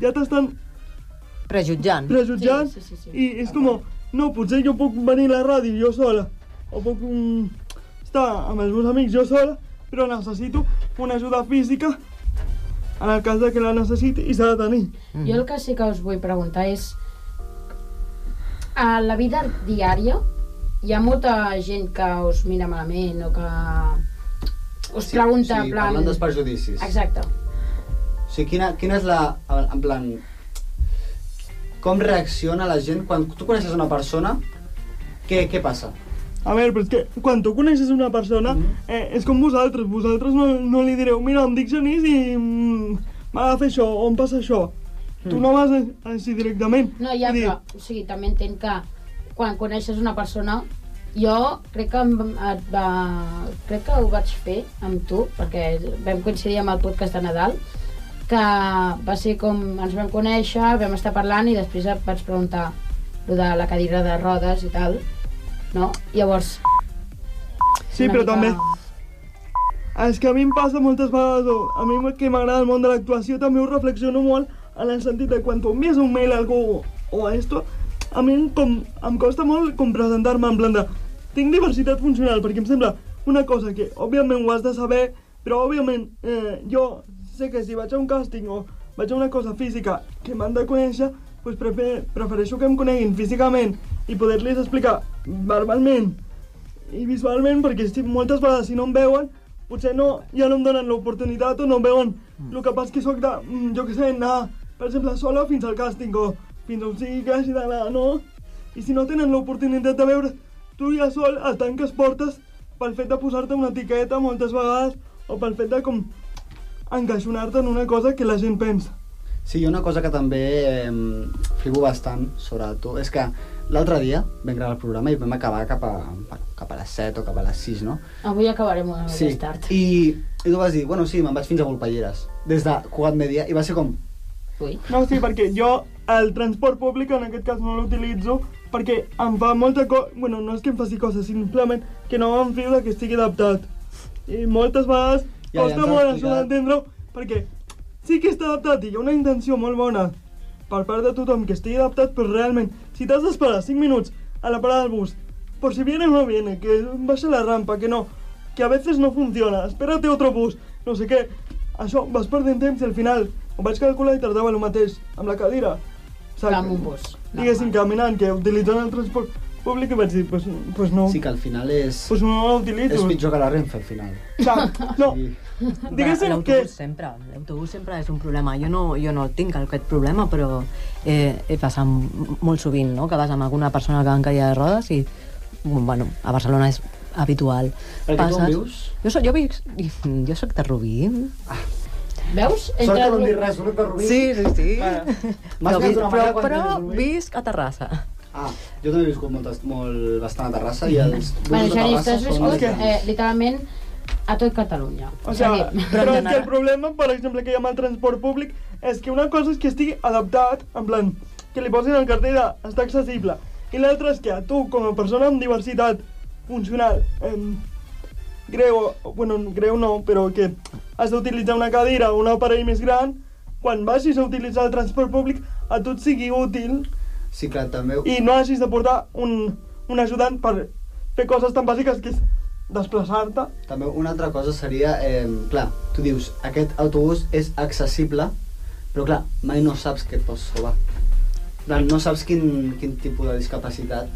ja t'estan
Prejutjant.
prejutjant
Sí, sí, sí, sí.
i és com, no, potser jo puc venir a la ràdio jo sola, o puc mm, estar amb els meus amics jo sola, però necessito una ajuda física en el cas de que la necessiti i s'ha de tenir.
Mm.
Jo el que sí que us vull preguntar és... A la vida diària hi ha molta gent que us mira malament o que us pregunta en plan...
Parlant dels prejudicis.
Exacte.
O sigui, quina, quina és la... En plan... Com reacciona la gent quan tu coneixes una persona? Què, què passa?
A veure, però és que quan tu coneixes una persona, mm -hmm. eh, és com vosaltres. Vosaltres no, no li direu, mira, em dic Genís i mm, m'ha de fer això, o em passa això. Mm. Tu no vas a- així directament.
No, ja,
Vull dir,
però, o sigui, també entenc que quan coneixes una persona jo crec que, em, et va, crec que ho vaig fer amb tu, perquè vam coincidir amb el podcast de Nadal, que va ser com ens vam conèixer, vam estar parlant i després et vaig preguntar lo de la cadira de rodes i tal, no? Llavors...
Sí, però també... Ah, És que a mi em passa moltes vegades, o a mi que m'agrada el món de l'actuació, també ho reflexiono molt en el sentit de quan tu envies un mail a algú o a esto, a mi em, com, em costa molt com presentar-me en plan de tinc diversitat funcional, perquè em sembla una cosa que òbviament ho has de saber, però òbviament eh, jo sé que si vaig a un càsting o vaig a una cosa física que m'han de conèixer, doncs prefe- prefereixo que em coneguin físicament i poder-los explicar verbalment i visualment, perquè si moltes vegades si no em veuen, potser no, ja no em donen l'oportunitat o no em veuen. El que passa és que sóc de, mm, jo què sé, anar, per exemple, sola fins al càsting o fins on sigui que hagi d'anar, no? I si no tenen l'oportunitat de veure, tu ja sol et tanques portes pel fet de posar-te una etiqueta moltes vegades o pel fet de com encaixonar-te en una cosa que la gent pensa.
Sí, i una cosa que també eh, flipo bastant sobre tu és que l'altre dia vam gravar el programa i vam acabar cap a, bueno, cap a les 7 o cap a les 6, no?
Avui acabarem una mica
Sí,
més Ah, tard.
i, i tu vas dir, bueno, sí, me'n vaig fins a Volpelleres, des de Cugat Media, i va ser com,
Ui.
No, sí, perquè jo el transport públic en aquest cas no l'utilitzo perquè em fa molta cosa... Bueno, no és que em faci coses, simplement que no em fio de que estigui adaptat. I moltes vegades
Ja, ja
costa
ens ho has
molt això
explicat.
d'entendre-ho perquè sí que està adaptat i hi ha una intenció molt bona per part de tothom que estigui adaptat, però realment, si t'has d'esperar 5 minuts a la parada del bus, por si viene o no viene, que baixa la rampa, que no, que a veces no funciona, espérate otro bus, no sé què, això, vas perdent temps i al final ho vaig calcular i tardava el mateix, amb la cadira. O sigui,
Amb un bus.
Diguéssim,
Normal.
caminant, que utilitzant el transport públic i vaig dir, pues, pues no,
sí que al final és,
pues no l'utilitzo.
és pitjor que la Renfe, al final.
Clar, no,
I,
diguéssim que...
L'autobús sempre, l'autobús sempre és un problema. Jo no, jo no el tinc, aquest problema, però eh, he passat m- molt sovint, no?, que vas amb alguna persona que va en cadira de rodes i, bueno, a Barcelona és habitual.
Perquè tu on vius?
Jo soc, jo, vic, jo soc de Rubí.
Veus?
sort que no em
Entre-
dic res, sort que Rubí.
Sí, sí, sí.
Ara, m'has
Però,
mirat
vi-
d'una
però,
manera quan
però
eres Rubí?
visc a Terrassa.
Ah, jo també he viscut molt, molt bastant a Terrassa i els
Bueno,
busos de
Xavi,
Terrassa
estàs
són
viscut
que-
eh, literalment a tot Catalunya.
O sigui,
Seguim.
però és que
general.
el problema, per exemple, que hi ha amb el transport públic és que una cosa és que estigui adaptat, en plan, que li posin el cartell de està accessible, i l'altra és que a tu, com a persona amb diversitat funcional, em, greu, o- bueno, greu no, però que has d'utilitzar una cadira o un aparell més gran, quan vagis a utilitzar el transport públic, a tu et sigui útil
Sí, clar, també...
i no hagis de portar un, un ajudant per fer coses tan bàsiques que és desplaçar-te.
També una altra cosa seria, eh, clar, tu dius, aquest autobús és accessible, però clar, mai no saps què et pots trobar. Clar, no saps quin, quin tipus de discapacitat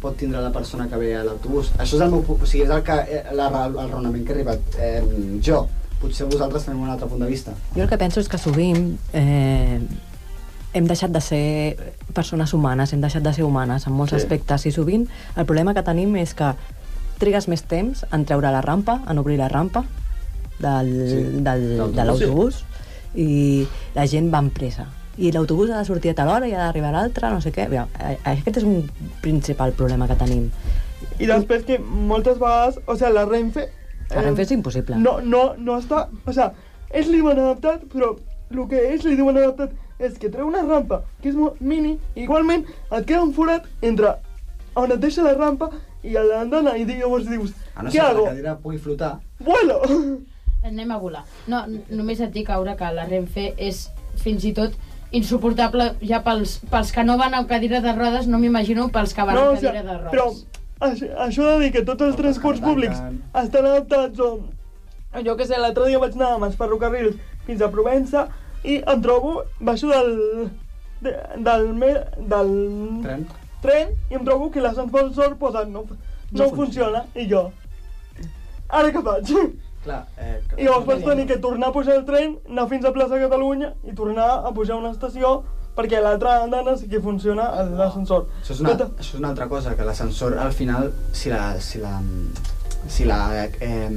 pot tindre la persona que ve a l'autobús. Això és el meu... pu- O sigui, és el, que, eh, la, ra- el raonament que he arribat eh, jo. Potser vosaltres teniu un altre punt de vista.
Jo el que penso és que sovint eh, hem deixat de ser persones humanes, hem deixat de ser humanes en molts sí. aspectes i sovint el problema que tenim és que trigues més temps en treure la rampa, en obrir la rampa del, sí,
Sí,
del, de
l'autobús.
l'autobús i la gent va amb pressa i l'autobús ha de sortir a tal hora i ha d'arribar a l'altra, no sé què. Mira, a- aquest és un principal problema que tenim.
I després que moltes vegades, o sigui, la Renfe... eh,
La Renfe és impossible.
No, no, no està... O sigui, ells li diuen adaptat, però el que ells li diuen adaptat és que treu una rampa, que és molt mini, i igualment et queda un forat entre on et deixa la rampa i a l'andana, i llavors dius,
A Ah, no
què
ser que
hago?
la cadira pugui flotar,
Vuelo!
Anem a volar. No, n- només et dic, Aura, que la Renfe és fins i tot insuportable ja pels, pels que no van amb cadira de rodes, no m'imagino pels que van
no,
amb
o sigui,
cadira de rodes.
però això, això de dir que tots els
Portes
transports
que no
públics
tanquen.
estan adaptats o... o Jo que sé, l'altre dia vaig anar amb els ferrocarrils fins a Provença i em trobo, baixo del... De, del, me, del
tren.
tren i em trobo que l'ascensor posat no, no, no funciona. i jo... Ara què faig?
Clar, eh,
I llavors vaig tenir que tornar a pujar el tren, anar fins a plaça Catalunya i tornar a pujar a una estació perquè l'altra andana sí que funciona Tota- l'ascensor.
Això és, una,
Tot-
això és una altra cosa, que l'ascensor al final, si la... Si la si la... Eh,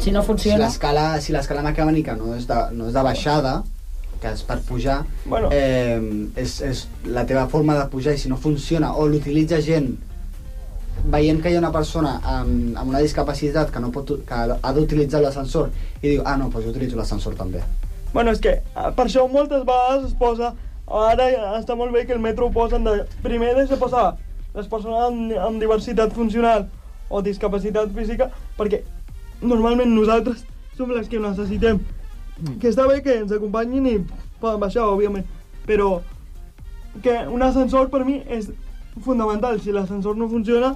Si no funciona.
Si l'escala si l'escala mecànica no és, de, no és de baixada, que és per pujar,
Bueno.
eh, és, és la teva forma de pujar i si no funciona o l'utilitza gent veiem que hi ha una persona amb, amb una discapacitat que, no pot, que ha d'utilitzar l'ascensor i diu, ah, no, doncs jo utilitzo l'ascensor també.
Bueno, és que eh, per això moltes vegades es posa... Ara ja està molt bé que el metro ho posen de... Primer deixa passar les persones amb, amb diversitat funcional o discapacitat física, perquè normalment nosaltres som les que ho necessitem.
Mm.
Que està bé que ens acompanyin i poden baixar, òbviament, però que un ascensor per mi és fonamental. Si l'ascensor no funciona,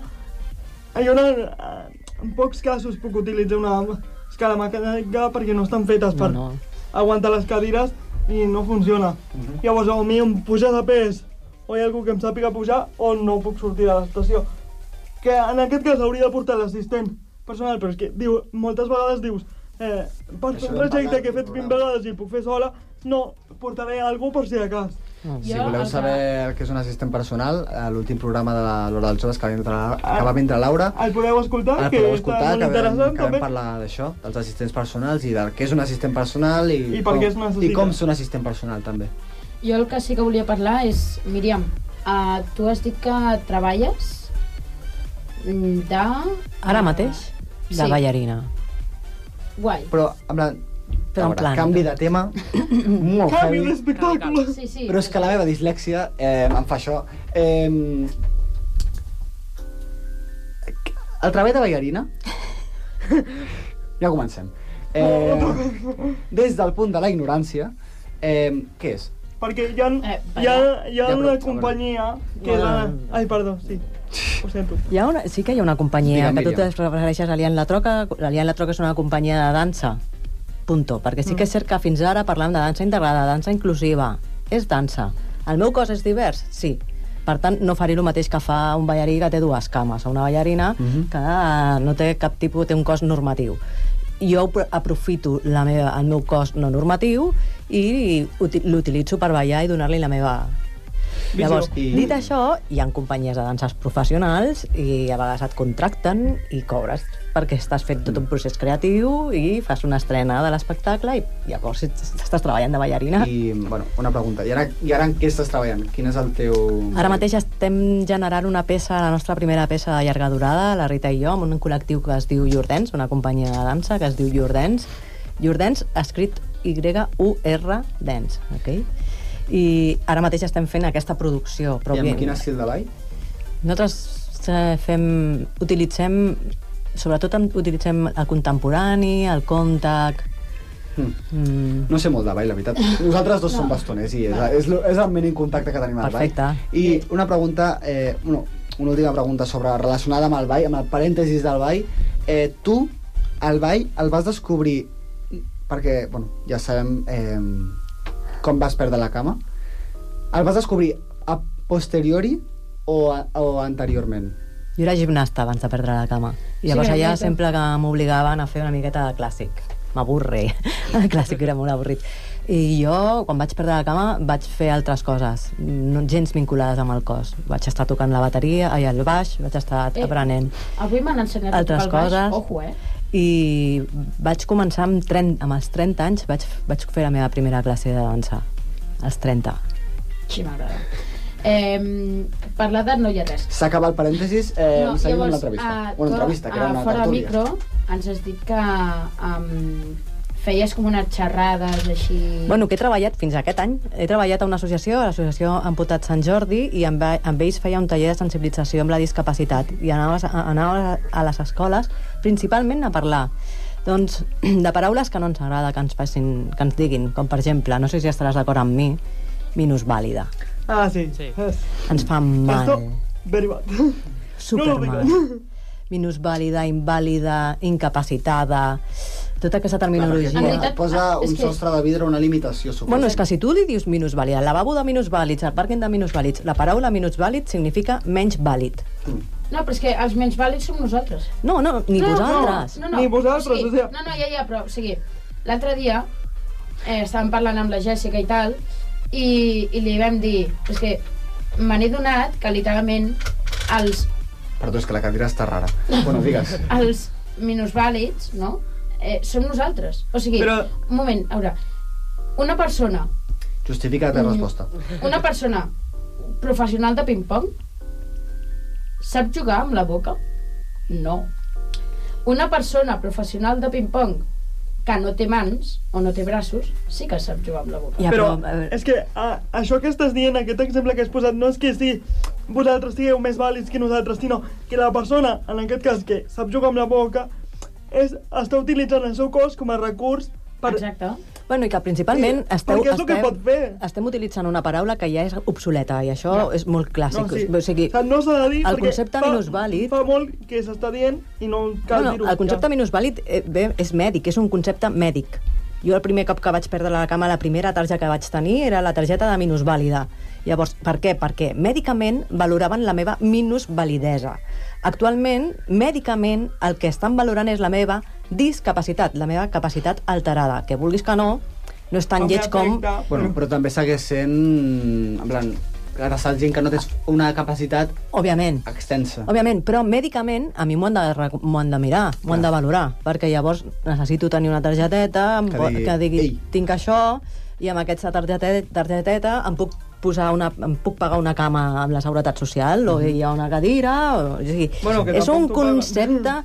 jo no, eh, en pocs casos puc utilitzar una escala mecànica perquè no estan fetes per
No, no. Mhm.
aguantar les cadires i no funciona. Llavors, o a mi em puja de pes, o hi ha algú que em sàpiga pujar, o no puc sortir de l'estació. Que en aquest cas hauria de portar l'assistent personal, però és que diu, moltes vegades dius eh, per
Això
fer un
vam parlar
trajecte que he fet
d'un
20
programa.
vegades i puc fer sola, no, portaré algú per si de cas.
Jo,
Si voleu
el que-
saber el que és un assistent personal, a l'últim programa de la- l'Hora dels Joves que va vindre, la- que va vindre Laura,
El podeu escoltar,
ara
Ah. que
Ah, podeu
està
escoltar,
molt
que vam,
interessant
que vam
també.
parlar d'això, dels assistents personals i del que és un assistent personal i,
I per què es
com,
necessita.
i com ser un assistent personal, també.
Jo el que sí que volia parlar és, Míriam, uh, tu has dit que treballes mm, de...
Ara mateix, de
Sí.
ballarina.
Guai.
Però, en plan,
Però en
a veure,
plan-
canvi de
<coughs>
tema, molt
Canvi
heavy.
d'espectacle!
Sí, sí.
Però és que la meva dislèxia eh, em fa això. Eh, el treball de ballarina... <laughs> ja comencem. Eh, des del punt de la ignorància, eh, què és?
Perquè hi ha,
Eh,
hi ha, hi ha
Ja, però-
una companyia que és la... Ai, perdó, sí. Ho sento.
Hi ha una, sí que hi ha una companyia
Digue'm,
que tu
Míriam.
te refereixes a Lian La Troca. Lian La Troca és una companyia de dansa. Punto. Perquè sí que és cert que fins ara parlàvem de dansa integrada, dansa inclusiva. És dansa. El meu cos és divers? Sí. Per tant, no faré el mateix que fa un ballarí que té dues cames, o una ballarina
Mhm.
que no té cap tipus, té un cos normatiu. Jo apro- aprofito la meva, el meu cos no normatiu i uti- l'utilitzo per ballar i donar-li la meva
Visió.
Llavors,
I-
dit això, hi ha companyies de danses professionals i a vegades et contracten i cobres perquè estàs fent tot un
Mm.
procés creatiu i fas una estrena de l'espectacle i llavors estàs treballant de ballarina. I...
I, bueno, una pregunta. I ara, I ara en què estàs treballant? Quin és el teu...
Ara mateix estem generant una peça, la nostra primera peça de llarga durada, la Rita i jo, amb un col·lectiu que es diu Jordens, una companyia de dansa que es diu Jordens. Jordens, escrit Y-U-R, dance, ok? I ara mateix estem fent aquesta producció. Però
I amb
òbviament-
quin estil de ball?
Nosaltres eh, fem, utilitzem, sobretot en- utilitzem el contemporani, el contact...
Hm.
Mm.
No sé molt de ball, la veritat. Nosaltres dos no. som bastoners i és, és, lo- és el mínim contacte que tenim al ball.
Perfecte.
I una pregunta, eh, bueno, una última pregunta sobre relacionada amb el ball, amb el parèntesis del ball. Eh, tu, el ball, el vas descobrir perquè, bueno, ja sabem eh, com vas perdre la cama. El vas descobrir a posteriori o, a, o anteriorment?
Jo era gimnasta abans de perdre la cama. I llavors
Sí,
allà
veritat.
sempre que m'obligaven a fer una miqueta de clàssic. M'avorre. El clàssic era molt avorrit. I jo, quan vaig perdre la cama, vaig fer altres coses, no, gens vinculades amb el cos. Vaig estar tocant la bateria, ai, el baix, vaig estar
Eh.
aprenent.
Avui m'han ensenyat a
Altres
tocar el baix.
coses.
Ojo, eh?
i vaig començar amb, 30, amb els 30 anys, vaig, vaig fer la meva primera classe de dansa, als 30.
Sí, m'agrada. Eh, per l'edat no hi ha res.
S'ha acabat el parèntesis, eh, no, seguim amb
llavors,
l'entrevista.
a
una
to-
entrevista, que era
a
una
Fora
tertúlia.
micro ens has dit que um, feies com unes xerrades així...
Bueno, que he treballat fins aquest any. He treballat a una associació, a l'associació Amputat Sant Jordi, i amb, amb ells feia un taller de sensibilització amb la discapacitat. I anava, a- anava a les escoles principalment a parlar doncs, <clears throat> de paraules que no ens agrada que ens, facin, que ens diguin, com per exemple, no sé si estaràs d'acord amb mi, minusvàlida.
Ah, sí.
Sí.
Es-
Ens fa mal.
Esto, very bad.
Superman.
No
<laughs> Minusvàlida, invàlida, incapacitada... Tota aquesta terminologia...
Clar, perquè
veritat,
et posa
ah, és
un
que-
sostre de vidre, una limitació, suposo.
Bueno, és que si tu li dius minusvàlida, el lavabo de minusvàlids, el pàrquing de minusvàlids, la paraula minusvàlid significa menys vàlid.
Mm.
No, però és que els menys vàlids som nosaltres.
No, no, ni
no,
vosaltres.
No, no, no.
Ni vosaltres, o
o sigui,
sigui-
No, no, ja, ja, però, o sigui, l'altre dia eh, estàvem parlant amb la Jèssica i tal, i, i li vam dir, és que me n'he donat que literalment els,
Perdó, és que la cadira està rara.
<laughs>
Bueno, digues.
els minusvàlids, no?, eh, som nosaltres. O sigui,
Però-
un moment, a veure, una persona,
Justifica la teva resposta.
una persona professional de ping-pong Sap jugar amb la boca? No. Una persona professional de ping-pong que no té mans o no té braços, sí que sap jugar amb la boca.
Ja,
però,
però, a veure.
és que a, això que estàs dient, aquest exemple que has posat, no és que sí, vosaltres sigueu més vàlids que nosaltres, sinó que la persona, en aquest cas, que sap jugar amb la boca, és, està utilitzant el seu cos com a recurs per...
Exacte.
Bueno, i que principalment
Sí,
esteu,
perquè és el que
estem,
pot fer.
estem utilitzant una paraula que ja és obsoleta i això és molt clàssic. Ah, O sigui,
O sigui, no s'ha de dir
el
perquè
concepte
fa,
minusvàlid...
Fa molt que s'està dient i no cal
Bueno,
dir-ho.
el concepte minusvàlid eh, bé, és mèdic, és un concepte mèdic. Jo el primer cop que vaig perdre la cama, la primera targeta que vaig tenir era la targeta de minusvàlida. Llavors, per què? Perquè mèdicament valoraven la meva minusvalidesa. Actualment, mèdicament, el que estan valorant és la meva discapacitat, la meva capacitat alterada. Que vulguis que no, no és tan
Em
lleig com...
afecta.
Bueno, però també segueix sent... En plan, agrassar gent que no té una capacitat
Òbviament.
extensa.
Òbviament, però mèdicament a mi m'ho han, de, rec- m'ho han de mirar, m'ho han de valorar, perquè llavors necessito tenir una targeteta em
Que
po-
digui,
que digui
"Ei".
tinc això, i amb aquesta targeteta, targeteta em puc posar una, em puc pagar una cama amb la seguretat social o
Mhm.
hi ha una cadira o, o sigui,
Bueno, que
és
tampoc
un
t'ho paguen.
concepte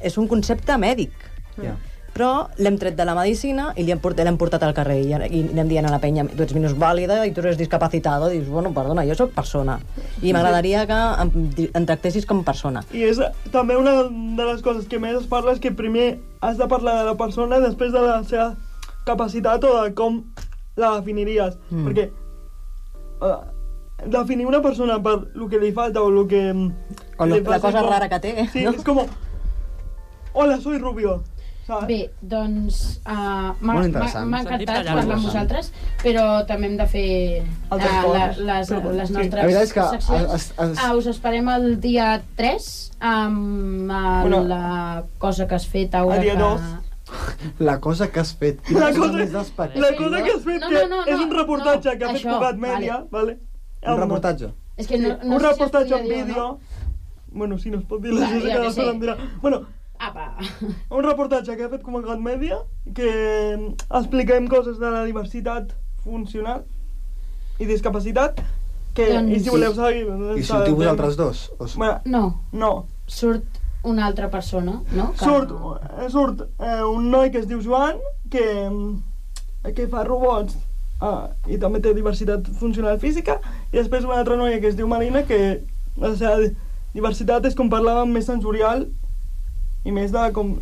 és un concepte mèdic
Ja.
però l'hem tret de la medicina i li hem portat, l'hem portat al carrer i, i anem dient a la penya, tu ets minusvàlida i tu eres discapacitada, dius, bueno, perdona, jo sóc persona i m'agradaria que em, di- em tractessis com persona.
I és també una de les coses que més es parla és que primer has de parlar de la persona i després de la seva capacitat o de com la definiries.
Mm.
Mm. Perquè uh, definir una persona per el que li falta o el que... mm,
O lo-
li
la
passa
cosa
com-
rara que té,
Sí,
no?
és com... Hola, soy Rubio. Saps?
Bé, doncs uh, m'ha
Molt
m'ha-
interessant.
m'ha
Sentit
encantat
allà,
parlar amb
molt
vosaltres, però també hem de fer uh,
Altres
la,
coses.
les,
Però,
les
sí.
La
nostres
veritat és que
seccions.
es- es-
Ah, us esperem el dia 3 amb uh,
Bueno,
la cosa que has fet ara.
el dia
que...
dos.
La cosa que has fet.
La cosa, la
Sí,
cosa
no?
que has fet,
No,
que
no, no,
és
no,
un reportatge
no,
que ha fet
això,
Cugat Mèdia,
vale.
vale.
Un reportatge.
És que no, no
un
sé si es
reportatge
podia
en
dir o no.
vídeo... Bueno, sí, no es pot dir, la
Va,
gent
ja
que
que
la
sé.
solen dirà. Bueno,
Apa!
un reportatge que ha fet Comunicat Mèdia que mm, expliquem coses de la diversitat funcional i discapacitat que,
Doncs-
i si voleu saber... doncs
I sortiu vosaltres dos? O... s-
Bueno,
<laughs> No,
no,
surt una altra persona, no? Que-
surt, eh, surt eh, un noi que es diu Joan que, eh, que fa robots ah, i també té diversitat funcional física i després una altra noia que es diu Marina que la seva diversitat és com parlàvem més sensorial i més de com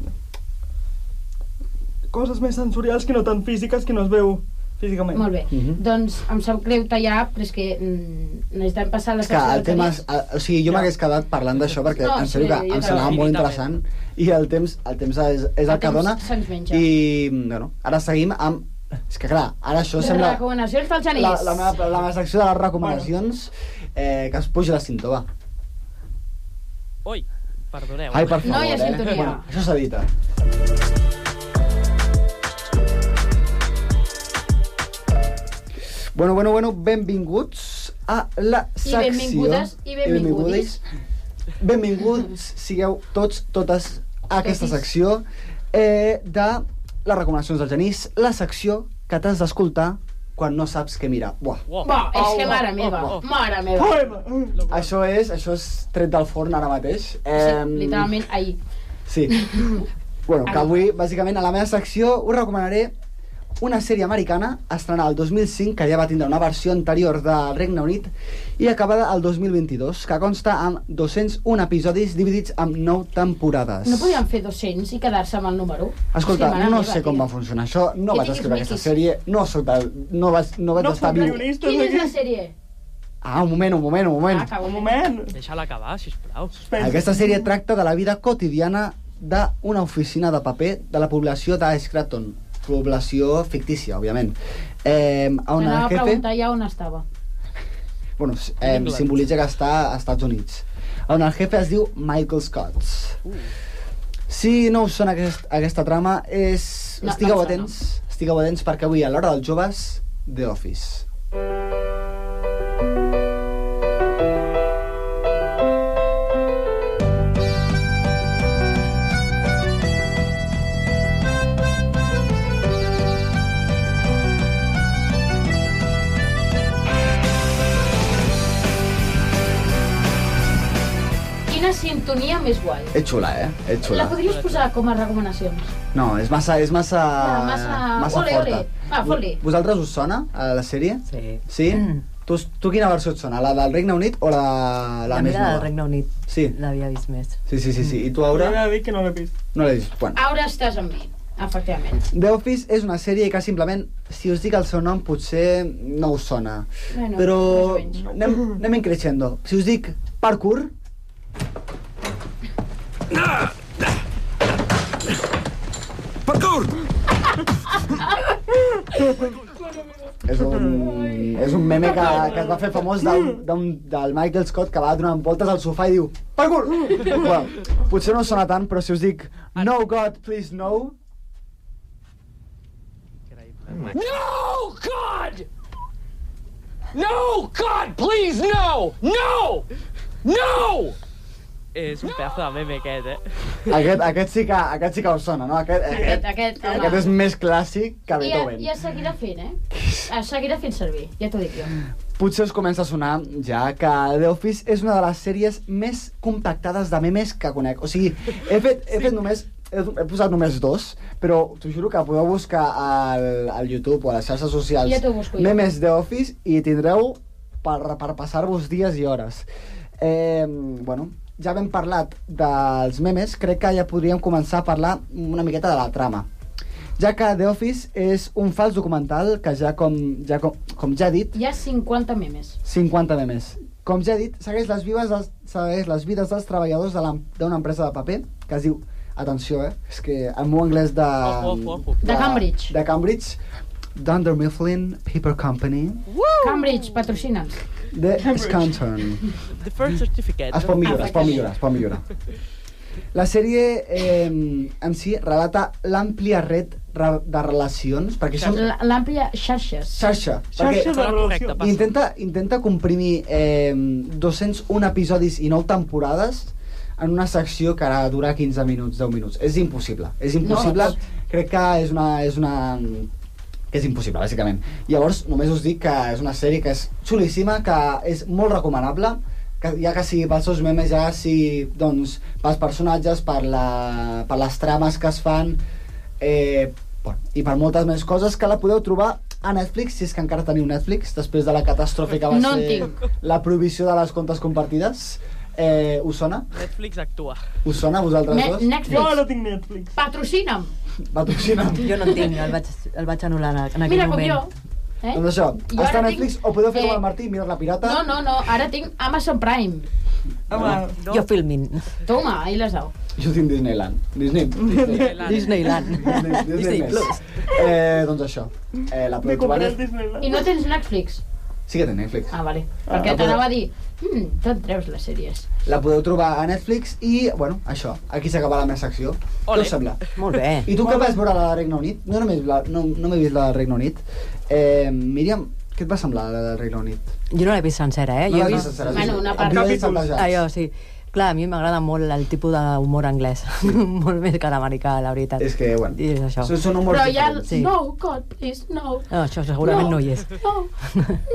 coses més sensorials que no tan físiques que no es veu físicament
Molt bé.
Mhm.
Doncs em sap greu tallar, però és que mm, necessitem passar a la
És que
secció
el
de
tema...
tenis.
És, a- o sigui, jo m'hagués quedat parlant d'això perquè
No,
en sèrio que
sí, jo
em semblava
també.
molt interessant i el temps, el temps és, és el que
El temps
dona.
se'ns menja.
I, bueno, ara seguim amb... És que clar, ara això sembla...
Recomanacions del Genís.
La, la, meva, la meva secció de les recomanacions eh, que es puja la síntoma.
Ui, perdoneu.
Ai, per favor,
No hi ha
eh?
sintonia.
Bueno, això eh? s'edita. Bueno, bueno, bueno, benvinguts a la
I
secció...
benvingudes i
benvingudes.
benvingudes.
Benvinguts sigueu tots, totes, a aquesta secció eh, de les recomanacions del Genís, la secció que t'has d'escoltar quan no saps què mirar. Buah.
Uau.
Bo, és que
Au,
mare
au,
meva,
au, au.
mare meva.
Poema!
Això és, això és tret del forn ara mateix.
Sí,
Em,
literalment, ahir.
Sí. bueno, que avui, bàsicament, a la meva secció us recomanaré una sèrie americana estrenada el 2005, que ja va tindre una versió anterior del Regne Unit, i acabada el 2022, que consta amb 201 episodis dividits en 9 temporades.
No podíem fer 200 i quedar-se amb el número?
Escolta,
mare
no
meva,
sé com
tio.
va funcionar això, no
Que
vaig
diguis
escriure aquesta
miquis.
sèrie, no soc del... no vaig, no vaig
no
estar
som
viu.
guionistes
Quina és la
aquí
sèrie?
Ah, un moment, un moment, un moment.
Ah, cago
un
en
moment
Deixa-la acabar, sisplau.
Aquesta sèrie tracta de la vida quotidiana d'una oficina de paper de la població de Scranton, població fictícia, òbviament. Eh, on
T'anava
el
a
jefe...
preguntar ja on estava.
Bueno, eh,
England.
simbolitza que està als Estats Units. On el jefe es diu Michael Scott. Si no us sona aquest, aquesta trama, és...
No, no
estigueu
em sona.
atents, estigueu atents perquè avui a l'hora dels joves, The Office.
Quina sintonia més guai.
És xula, eh? És
La
xula.
podries posar com a recomanacions.
No, és massa, és massa,
Ah, massa-
massa
ole,
forta.
ole. Va, fot-li.
Vosaltres us sona a la sèrie?
Sí.
Sí?
Mm.
Tu, tu quina versió et sona? La del Regne Unit o la, la,
La,
més
meva
nova?
del Regne Unit.
Sí.
L'havia vist més.
Sí, sí, sí, sí. I tu,
Però
Aura?
he de dir que no l'he vist.
No l'he vist. Bueno.
Ara estàs amb mi, efectivament.
The Office és una sèrie que simplement, si us dic el seu nom, potser no us sona.
Bueno,
Però
més o menys.
anem, anem increixendo. Si us dic parkour... És un, és un meme que, que es va fer famós del, del, del Michael Scott que va donant voltes al sofà i diu Parkour! Well, potser no us sona tant, però si us dic No God, please no,
És un pedazo de meme aquest, eh?
Aquest, aquest, sí que, aquest sí que us sona, no? Aquest,
Aquest,
aquest,
aquest, home.
aquest és més clàssic que
I,
Beethoven.
I es seguirà fent, eh? Es seguirà fent servir, ja t'ho dic jo.
Potser us comença a sonar ja que The Office és una de les sèries més compactades de memes que conec. O sigui, he fet, he fet només... He, he posat només dos, però t'ho juro que podeu buscar al, al YouTube o a les xarxes socials
Ja t'ho busco jo.
memes The Office i tindreu per, per passar-vos dies i hores. Eh, bueno, ja hem parlat dels memes, crec que ja podríem començar a parlar una miqueta de la trama ja que The Office és un fals documental que ja com ja, com, com ja he dit,
Hi ha 50 memes.
50 de més. Com ja he dit, segueix les, vives dels, segueix les vides dels treballadors de l'em- d'una empresa de paper que es diu... Atenció, eh? És que el meu anglès de...
Ojo, ojo, ojo.
De Cambridge.
De Cambridge. Dunder Mifflin Paper Company
Cambridge, patrocina'ns.
de Scranton.
The first certificate.
Es pot millorar, es pot millorar, es pot millorar. La sèrie eh, en si relata l'àmplia red re- de relacions, perquè són...
L- L'àmplia xarxes.
Xarxa.
Xarxa de
Serà correcte,
relació.
passa.
Intenta, intenta comprimir eh, 201 episodis i 9 temporades en una secció que ara dura 15 minuts, 10 minuts. És impossible. És impossible.
No, no
Crec que és una... És una que és impossible, bàsicament. Llavors, només us dic que és una sèrie que és xulíssima, que és molt recomanable, que ja que sigui pels seus memes, ja si, doncs, pels personatges, per, la, per les trames que es fan, eh, bueno, i per moltes més coses que la podeu trobar a Netflix, si és que encara teniu Netflix, després de la catàstrofe que va
No en
ser
tinc.
la prohibició de les comptes compartides. Eh, us sona?
Netflix actua.
Us sona a vosaltres
Ne
dos?
Jo ara
Netflix,
tinc Netflix.
patrocina'm.
Va, toxina.
Jo no en tinc, el vaig, el vaig anul·lar en aquell
Mira com
moment.
jo. Eh?
Doncs això,
Jo
està a
ara
Netflix,
tinc-
o podeu fer
eh,
com el Martí, mirar-la pirata.
No, no, no, ara tinc Amazon Prime.
Home,
No. Jo filmin.
Toma, ahí les dau.
Jo tinc Disneyland.
<laughs>
Disney. Disney.
Disneyland.
Disney, Disney
Disney Plus.
Plus. Eh, doncs això. Eh, la
m'he
podeu trobar...
comprat Disneyland.
I no tens Netflix?
Sí que té Netflix.
Ah, vale. Perquè
Ah,
t'anava a dir, mm, te'n treus les sèries.
La podeu trobar a Netflix i, bueno, això. Aquí s'acaba la meva secció.
Ole.
Què us sembla?
Molt bé.
I tu que vas veure la del Regne Unit? No només la, no, no m'he vist la del Regne Unit. Eh, Míriam, què et va semblar la del Regne Unit?
Jo no l'he vist sencera, eh?
No
jo
l'has
he
vist sencera, has
Bueno,
vist
una part.
episodis
Capítols.
saltejats.
Allò, sí. Clar, a mi m'agrada molt el tipus d'humor anglès. <laughs> molt més que l'americà, la veritat.
És que, bueno,
I és això.
són, són humors
Però hi ha...
diferents.
el-
Sí.
No, God, please, no.
No, això segurament no, hi és.
No.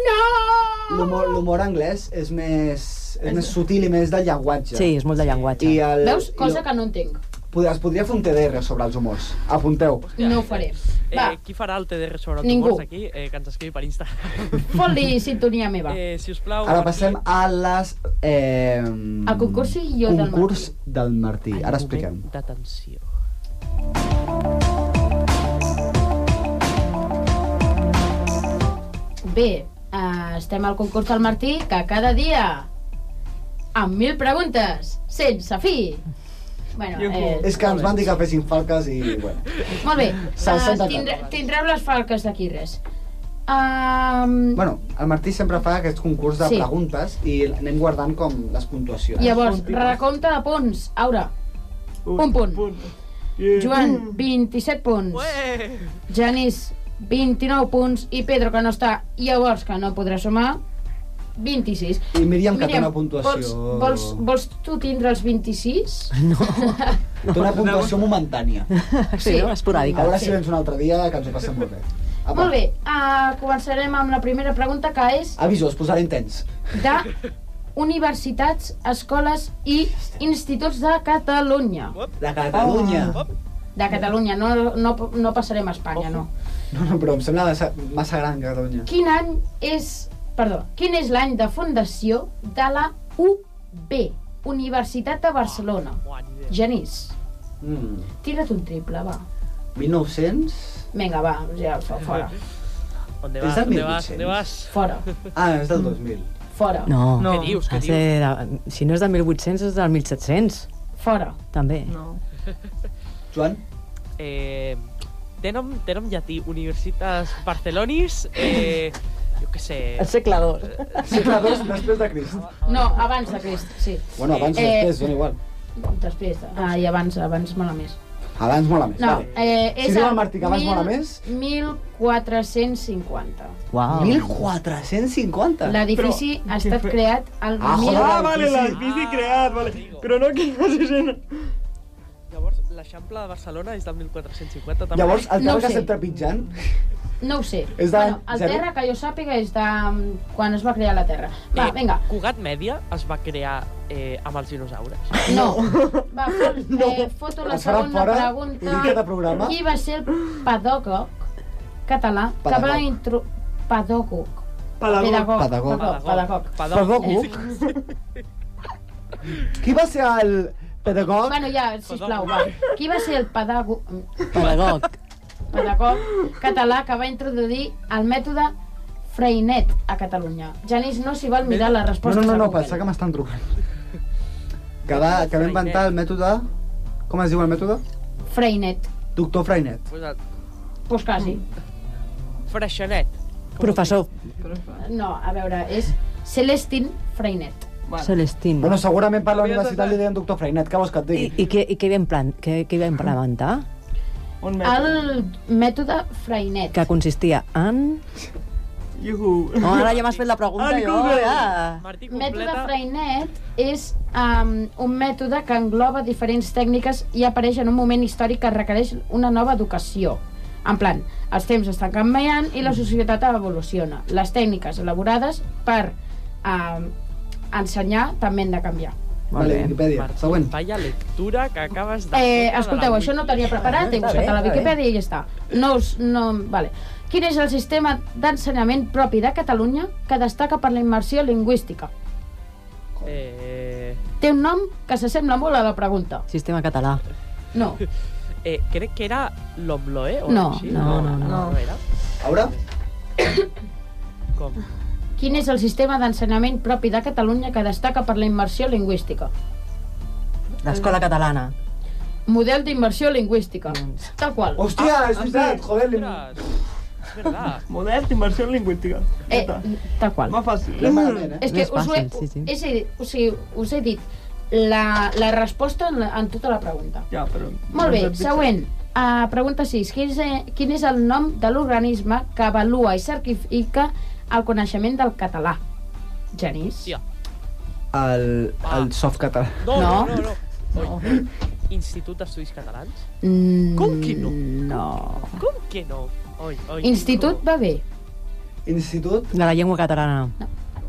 No!
L'humor l'humor anglès és més, és més sutil i més del llenguatge.
Sí, és molt de llenguatge.
I el,
Veus?
i
Cosa
el-
que no entenc.
Pod- Es podria fer un TDR sobre els humors. Apunteu.
No ho faré. Va,
Eh, qui farà el TDR sobre
Ningú.
tumors aquí? Eh, que ens escrigui per Insta.
fot-li sintonia meva.
Eh, si us plau...
Ara passem a les... Eh,
El concurs i jo del
concurs del Martí. Ara expliquem.
D'atenció.
Bé, eh, estem al concurs del Martí, que cada dia... Amb mil preguntes, sense fi. Bueno, eh,
És que ens van dir que fessin falques i... Bueno.
molt
<laughs>
bé.
Se'l
Eh,
sent de
tindre,
tot.
tindreu les falques d'aquí res. Um,
bueno, el Martí sempre fa aquest concurs de
Sí.
preguntes i anem guardant com les puntuacions.
llavors, recompte de punts. Aura, un punt.
Yeah. Mm.
Joan, 27 punts.
Ué!
Genís, 29 punts. I Pedro, que no està, llavors que no podrà sumar, 26.
I Míriam, que té
Míriam,
una puntuació...
Vols, vols, vols tu tindre els 26?
Té una puntuació momentània.
eh, Sí, no? Esporàdica.
A veure si vens un altre dia, que ens ho passem molt bé. Apa.
Molt ah, bé, uh, començarem amb la primera pregunta, que és
Aviso, es posarà intens.
de universitats, escoles i instituts de Catalunya.
La Catalunya.
De Catalunya, no, no, no passarem a Espanya, no.
No, no, però em sembla massa, massa gran, Catalunya.
Quin any és... Perdó, quin és l'any de fundació de la UB, Universitat de Barcelona? Genís,
Mm.
tira't un triple, va.
1900...
Vinga, va, ja, fa- fora,
On
És
vas?
del
On
1800.
vas? On vas?
fora,
Ah, és del 2000.
fora,
No,
No. Què dius, què
has de, si no és del 1800, és del 1700,
fora.
també.
No.
Joan?
Eh, té, nom, té nom llatí, Universitas Barcelonis, eh, jo què sé...
segle II.
Segle II després de Crist.
No, abans de Crist, sí.
Bueno, abans o
Eh,
després, dona igual.
Després, de- ah, i abans, abans mola més.
Abans mola més.
No,
vale.
eh,
Si
és
diu
el
el Martí que abans mola més-
1450.
Uau.
1450?
L'edifici ha estat creat al
Ah, joder,
Ah,
l'edifici.
vale, l'edifici creat, vale. Però no que no sé si... no-
Llavors, l'Eixample de Barcelona és del 1450, també.
Llavors, el terra
No ho
que
sé.
estem trepitjant...
No ho sé.
És de
bueno, el
zero?
Terra, que jo sàpiga, és de mm, quan es va crear la Terra. Va,
Eh,
vinga.
Cugat Mèdia es va crear eh, amb els dinosaures.
No. <laughs> Va,
<laughs>
fot, eh, foto la
Es farà
segona
fora? Una mica de
pregunta.
programa?
Qui va ser el pedagog català que va
Pedagog.
intro... Pedagog.
Pedagog.
Pedagog.
Pedagog.
Pedagog. Pedagog.
Pedagog.
Qui va ser el pedagog?
Bueno, ja, sisplau, va. Qui va ser el pedagog,
<laughs> Pedagog.
pedagog català que va introduir el mètode Freinet a Catalunya? Genís, no s'hi val mirar les
No, no,
respostes
no,
a
no
Google.
pensar que m'estan trucant. Que va, que va inventar el mètode... Com es diu el mètode?
Freinet.
Doctor Freinet.
Pues el
Pues quasi.
Mm.
Freixenet. Com
Professor
No, a veure, és Celestin Freinet.
Celestino.
Bueno, segurament per la universitat li deien Doctor Freinet, què vols que et
I,
digui?
i, què, i què, vam plan, què, què vam implementar?
Un metro.
El mètode Freinet.
Que consistia en...
Iuhu.
No, ara ja m'has fet la pregunta,
En
jo,
Google.
"Oh, ja.
diu? Martí
Mètode
completa.
Freinet és um, un mètode que engloba diferents tècniques i apareix en un moment històric que requereix una nova educació. En plan, els temps estan canviant i la societat evoluciona. Les tècniques elaborades per um, ensenyar també han de canviar.
Vale, Wikipedia.
Martí,
Següent.
Vaya lectura que acabes de...
Eh,
fotre de
escolteu,
la
això no
Wiki.
tenia preparat, he
Està
buscat
bé,
a la
està bé.
Viquipèdia i ja està. No us... No, vale. Quin és el sistema d'ensenyament propi de Catalunya que destaca per la immersió lingüística?
Eh,
Té un nom que s'assembla molt a la pregunta.
Sistema català.
No,
eh, crec que era l'Obloe o
No,
així.
no, no,
no. era?
Ara?
Com?
Quin és el sistema d'ensenyament propi de Catalunya que destaca per la immersió lingüística?
L'escola catalana.
Model d'immersió lingüística.
Doncs.
Tal qual.
Oh,
Hòstia, Ah, és veritat, joder, li...
Ah, Ostres, és verdad.
Model d'immersió lingüística. Ja
Eh,
està.
tal qual.
Más fàcil.
L'hem malament, eh?
És que
Més
us ho he,
fàcil, sí, sí.
és a dir, o sigui, us he dit la, la resposta en, la- en tota la pregunta.
Ja, però...
Molt
Doncs
bé, següent. Uh, pregunta 6. Quin és, eh, quin és el nom de l'organisme que avalua i certifica el coneixement del català? Genís?
Hòstia.
El, el softcatalà.
No,
No.
no, no. no. Oi, Institut d'Estudis Catalans?
Mm,
Com que no?
No.
Com que no? Oi, oi,
Institut va bé.
Institut
De la llengua catalana.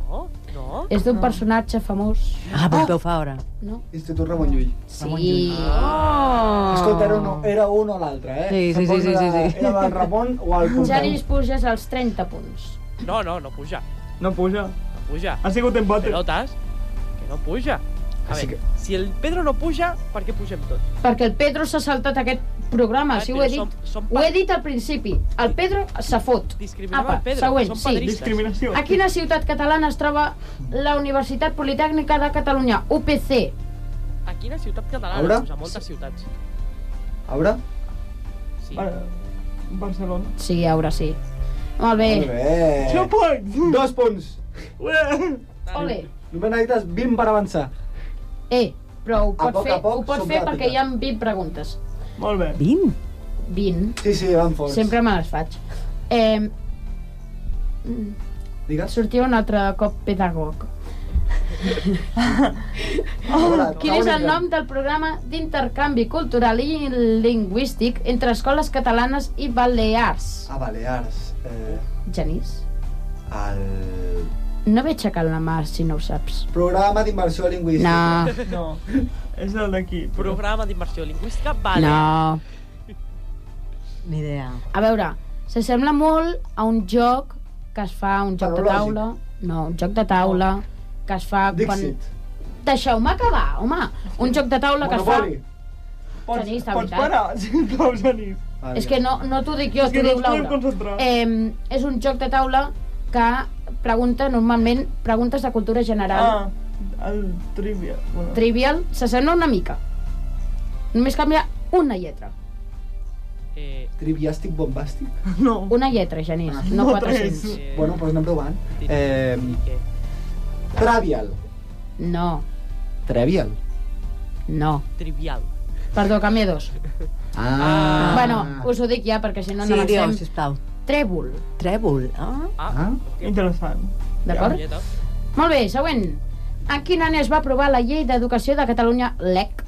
No, no.
És d'un personatge famós.
Ah, però què ho fa ara?
Oh. No?
Institut Ramon Llull.
Sí. Ah.
Ah,
Oh.
Escolta, era un, era un o l'altre, eh?
Sí, sí, sí, sí, sí, sí.
Era el Ramon o el Pompeu.
Janis Puges als 30 punts.
No, no, no puja.
No puja.
No puja.
Ha sigut empate.
Pelotes, que no puja. A
Així
veure, si el Pedro no puja, per què pugem tots?
Perquè el Pedro s'ha saltat aquest programa, si ho he
Però
dit.
Ah, Som, som
Ho he dit al principi. El Pedro se fot.
Discriminem
Apa,
el Pedro,
següent,
som
sí.
pedristes.
Discriminació.
A quina ciutat catalana es troba la Universitat Politècnica de Catalunya, UPC?
A quina ciutat catalana?
Haurà?
Doncs a moltes ciutats.
A veure?
Sí.
Ara, Barcelona.
Sí, ara sí.
Molt
Molt bé.
No
bé.
pots!
Dos punts.
Ole.
Només necessites 20 per avançar.
Eh, però ho
A
pot
poc a
fer,
poc
ho pot
som
fer
ràpida.
perquè hi ha 20 preguntes.
Molt bé.
20?
20.
Sí, sí, van forts.
Sempre me les faig. Eh,
Digues.
sortia un altre cop pedagog.
Hola,
Oh, Quin és el nom del programa d'intercanvi cultural i lingüístic entre escoles catalanes i balears?
A Balears. Eh,
Genís?
el...
No ve aixecant la mà si no ho saps.
Programa d'immersió lingüística.
No,
No, és el d'aquí. Però...
Programa d'immersió lingüística, vale.
no.
Ni idea.
A veure, s'assembla molt a un joc que es fa, un joc de
Tecnològic.
taula... No, un joc de taula que es fa quan...
Dixit.
Deixeu-me acabar, home! Un joc de taula que es fa...
Monopoli.
Pots,
Genís, de
pots
veritat.
parar, sisplau, Genís.
Ah,
És
ja.
que no, no t'ho dic jo,
És que no
t'ho diu
ens podem
Laura.
concentrar.
Eh, és un joc de taula que pregunta normalment preguntes de cultura general.
Ah, el trivia. Bueno.
Trivial, s'assembla una mica. Només canvia una lletra.
Eh,
Triviàstic bombàstic?
no.
Una lletra, Genís, no
No, tres.
400.
eh,
Bueno, doncs anem provant. Eh,
què?
Travial.
No,
Trevial.
no.
Trivial.
Perdó, canvia dos.
Ah.
Bueno, us ho dic ja, perquè si no,
sí,
no
diu,
l'axem.
sisplau.
Trèvol,
Trèvol. Ah,
Ah.
Interessant.
d'acord?
Ja, ja,
Molt bé, següent. En quin any es va aprovar la llei d'educació de Catalunya, LEC,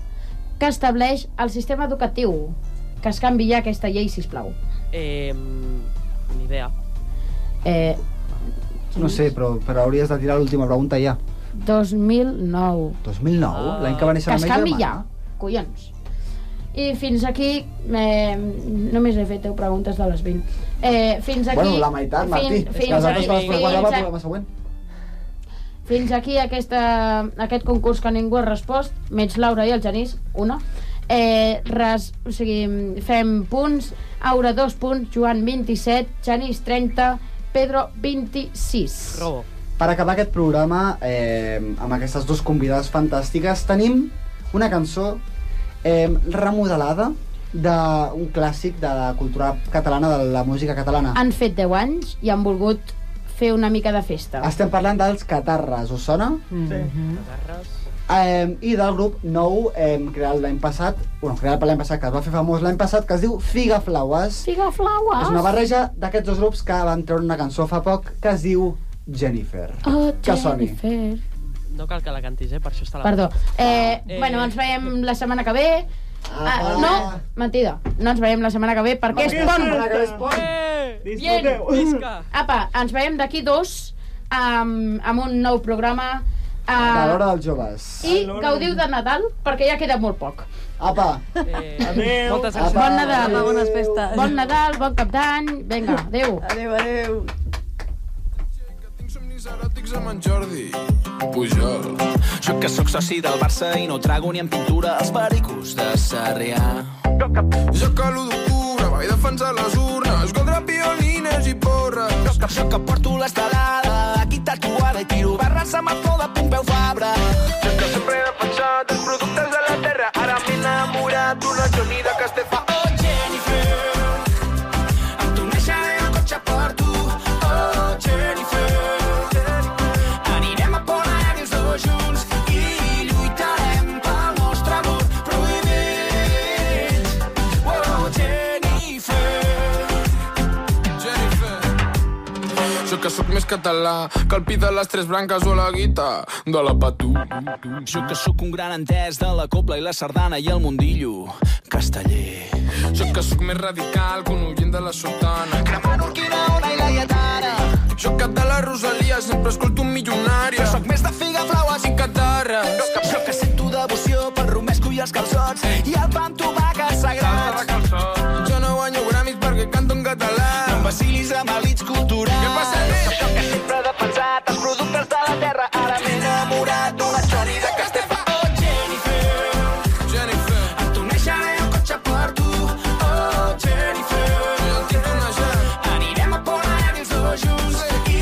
que estableix el sistema educatiu? Que es canvi ja aquesta llei, si plau.
Eh, ni idea.
Eh,
No sé, però, però hauries de tirar l'última pregunta ja.
2009.
2009,
Ah.
l'any que va néixer
Que
la
es
meva
canvi ja,
germana.
collons. I fins aquí, eh, només he fet 10 preguntes de les 20. Eh, fins aquí...
Bueno, la meitat, Martí.
Fins,
que
fins,
les altres
aquí,
coses
fins,
per guardar pel
a-
programa següent.
Fins aquí aquesta, aquest concurs que ningú ha respost, menys Laura i el Genís, una. Eh, res, o sigui, fem punts, Aura 2 punts, Joan 27, Genís 30, Pedro 26.
Robo.
Per acabar aquest programa, eh, amb aquestes dues convidades fantàstiques, tenim una cançó eh, remodelada d'un clàssic de la cultura catalana, de la música catalana.
Han fet 10 anys i han volgut fer una mica de festa.
Estem parlant dels Catarres, us sona?
Mm.
Sí.
Eh, I del grup nou eh, creat l'any passat, bueno, creat per l'any passat, que es va fer famós l'any passat, que es diu Figa Flaues.
Figa Flaues!
És una barreja d'aquests dos grups que van treure una cançó fa poc que es diu Jennifer.
Oh,
Que soni.
Jennifer.
No cal que la cantis, eh? Per això està la...
Perdó. Eh,
Eh.
Bueno, ens veiem la setmana que ve. Ah, no, mentida. No ens veiem la setmana que ve perquè és
Perquè
pont.
és
Que és pont.
Eh!
Disfruteu.
Visca!
<laughs>
Apa, ens veiem d'aquí dos amb, amb un nou programa
De l'hora
uh,
dels joves.
i
A l'hora
gaudiu
del-
de Nadal perquè ja queda molt poc.
Apa.
Eh,
Adéu.
Moltes gràcies.
Apa.
Bon Nadal.
Apa, bones festes.
Bon Nadal, bon cap d'any, vinga, adeu.
Adéu, adéu.
Tinc somnis eròtics amb en Jordi Pujol. Jo que sóc soci del Barça i no trago ni en pintura els pericos de Sarrià. Jo que l'1 d'octubre vaig defensar les urnes, gol de piolines i porres. Jo que porto l'estelada, aquí tatuada i tiro barres amb el flor de Pompeu Fabra. Jo que sempre he defensat els productes de la terra, ara m'he enamorat d'una Johnny de Castefa. Oh, Jennifer, em tornejaré el cotxe per tu. Oh, Jennifer. Anirem a Polaris dos junts i lluitarem pel nostre amor prohibit. Oh, Jennifer. Jennifer. Jo que sóc més català que el pi de les tres branques o la guita de la patú. Jo que sóc un gran entès de la copla i la sardana i el mundillo casteller. Jo que sóc més radical que un oient de la sotana. Cremant Urquinaona i la lletana. Jo que de la Rosalia sempre escolto un milionari. Jo sóc més de figa, flaues i catarra. Jo que, jo que sento devoció per romesco i els calçots i el pa amb tomaca sagrats. Jo no guanyo gramis perquè canto en català. No em vacilis amb elits culturals. Què passa, nena? Jo que sempre he defensat els productes de la terra. Ara m'he enamorat d'una Johnny de Castefa. Oh, Jennifer. Jennifer. Em tornejaré el cotxe per tu. Oh, Jennifer. Jo en tinc una ja. Anirem a Polaris dos junts i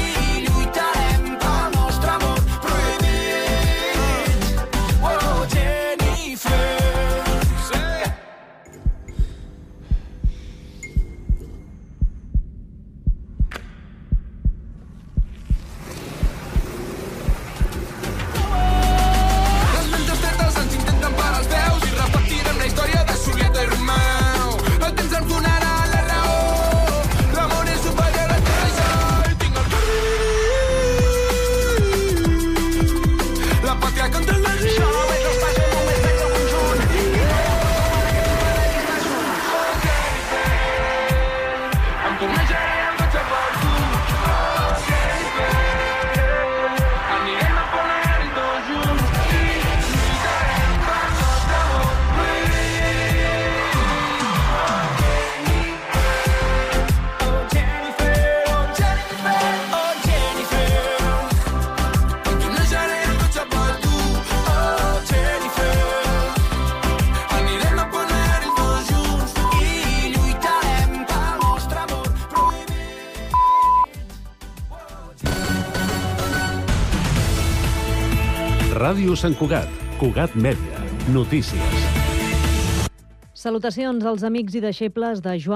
lluitarem pel nostre amor prohibit. Oh, Jennifer. Sí. oh, oh,
Ràdio Sant Cugat, Cugat Mèdia, notícies.
Salutacions als amics i deixebles de Joan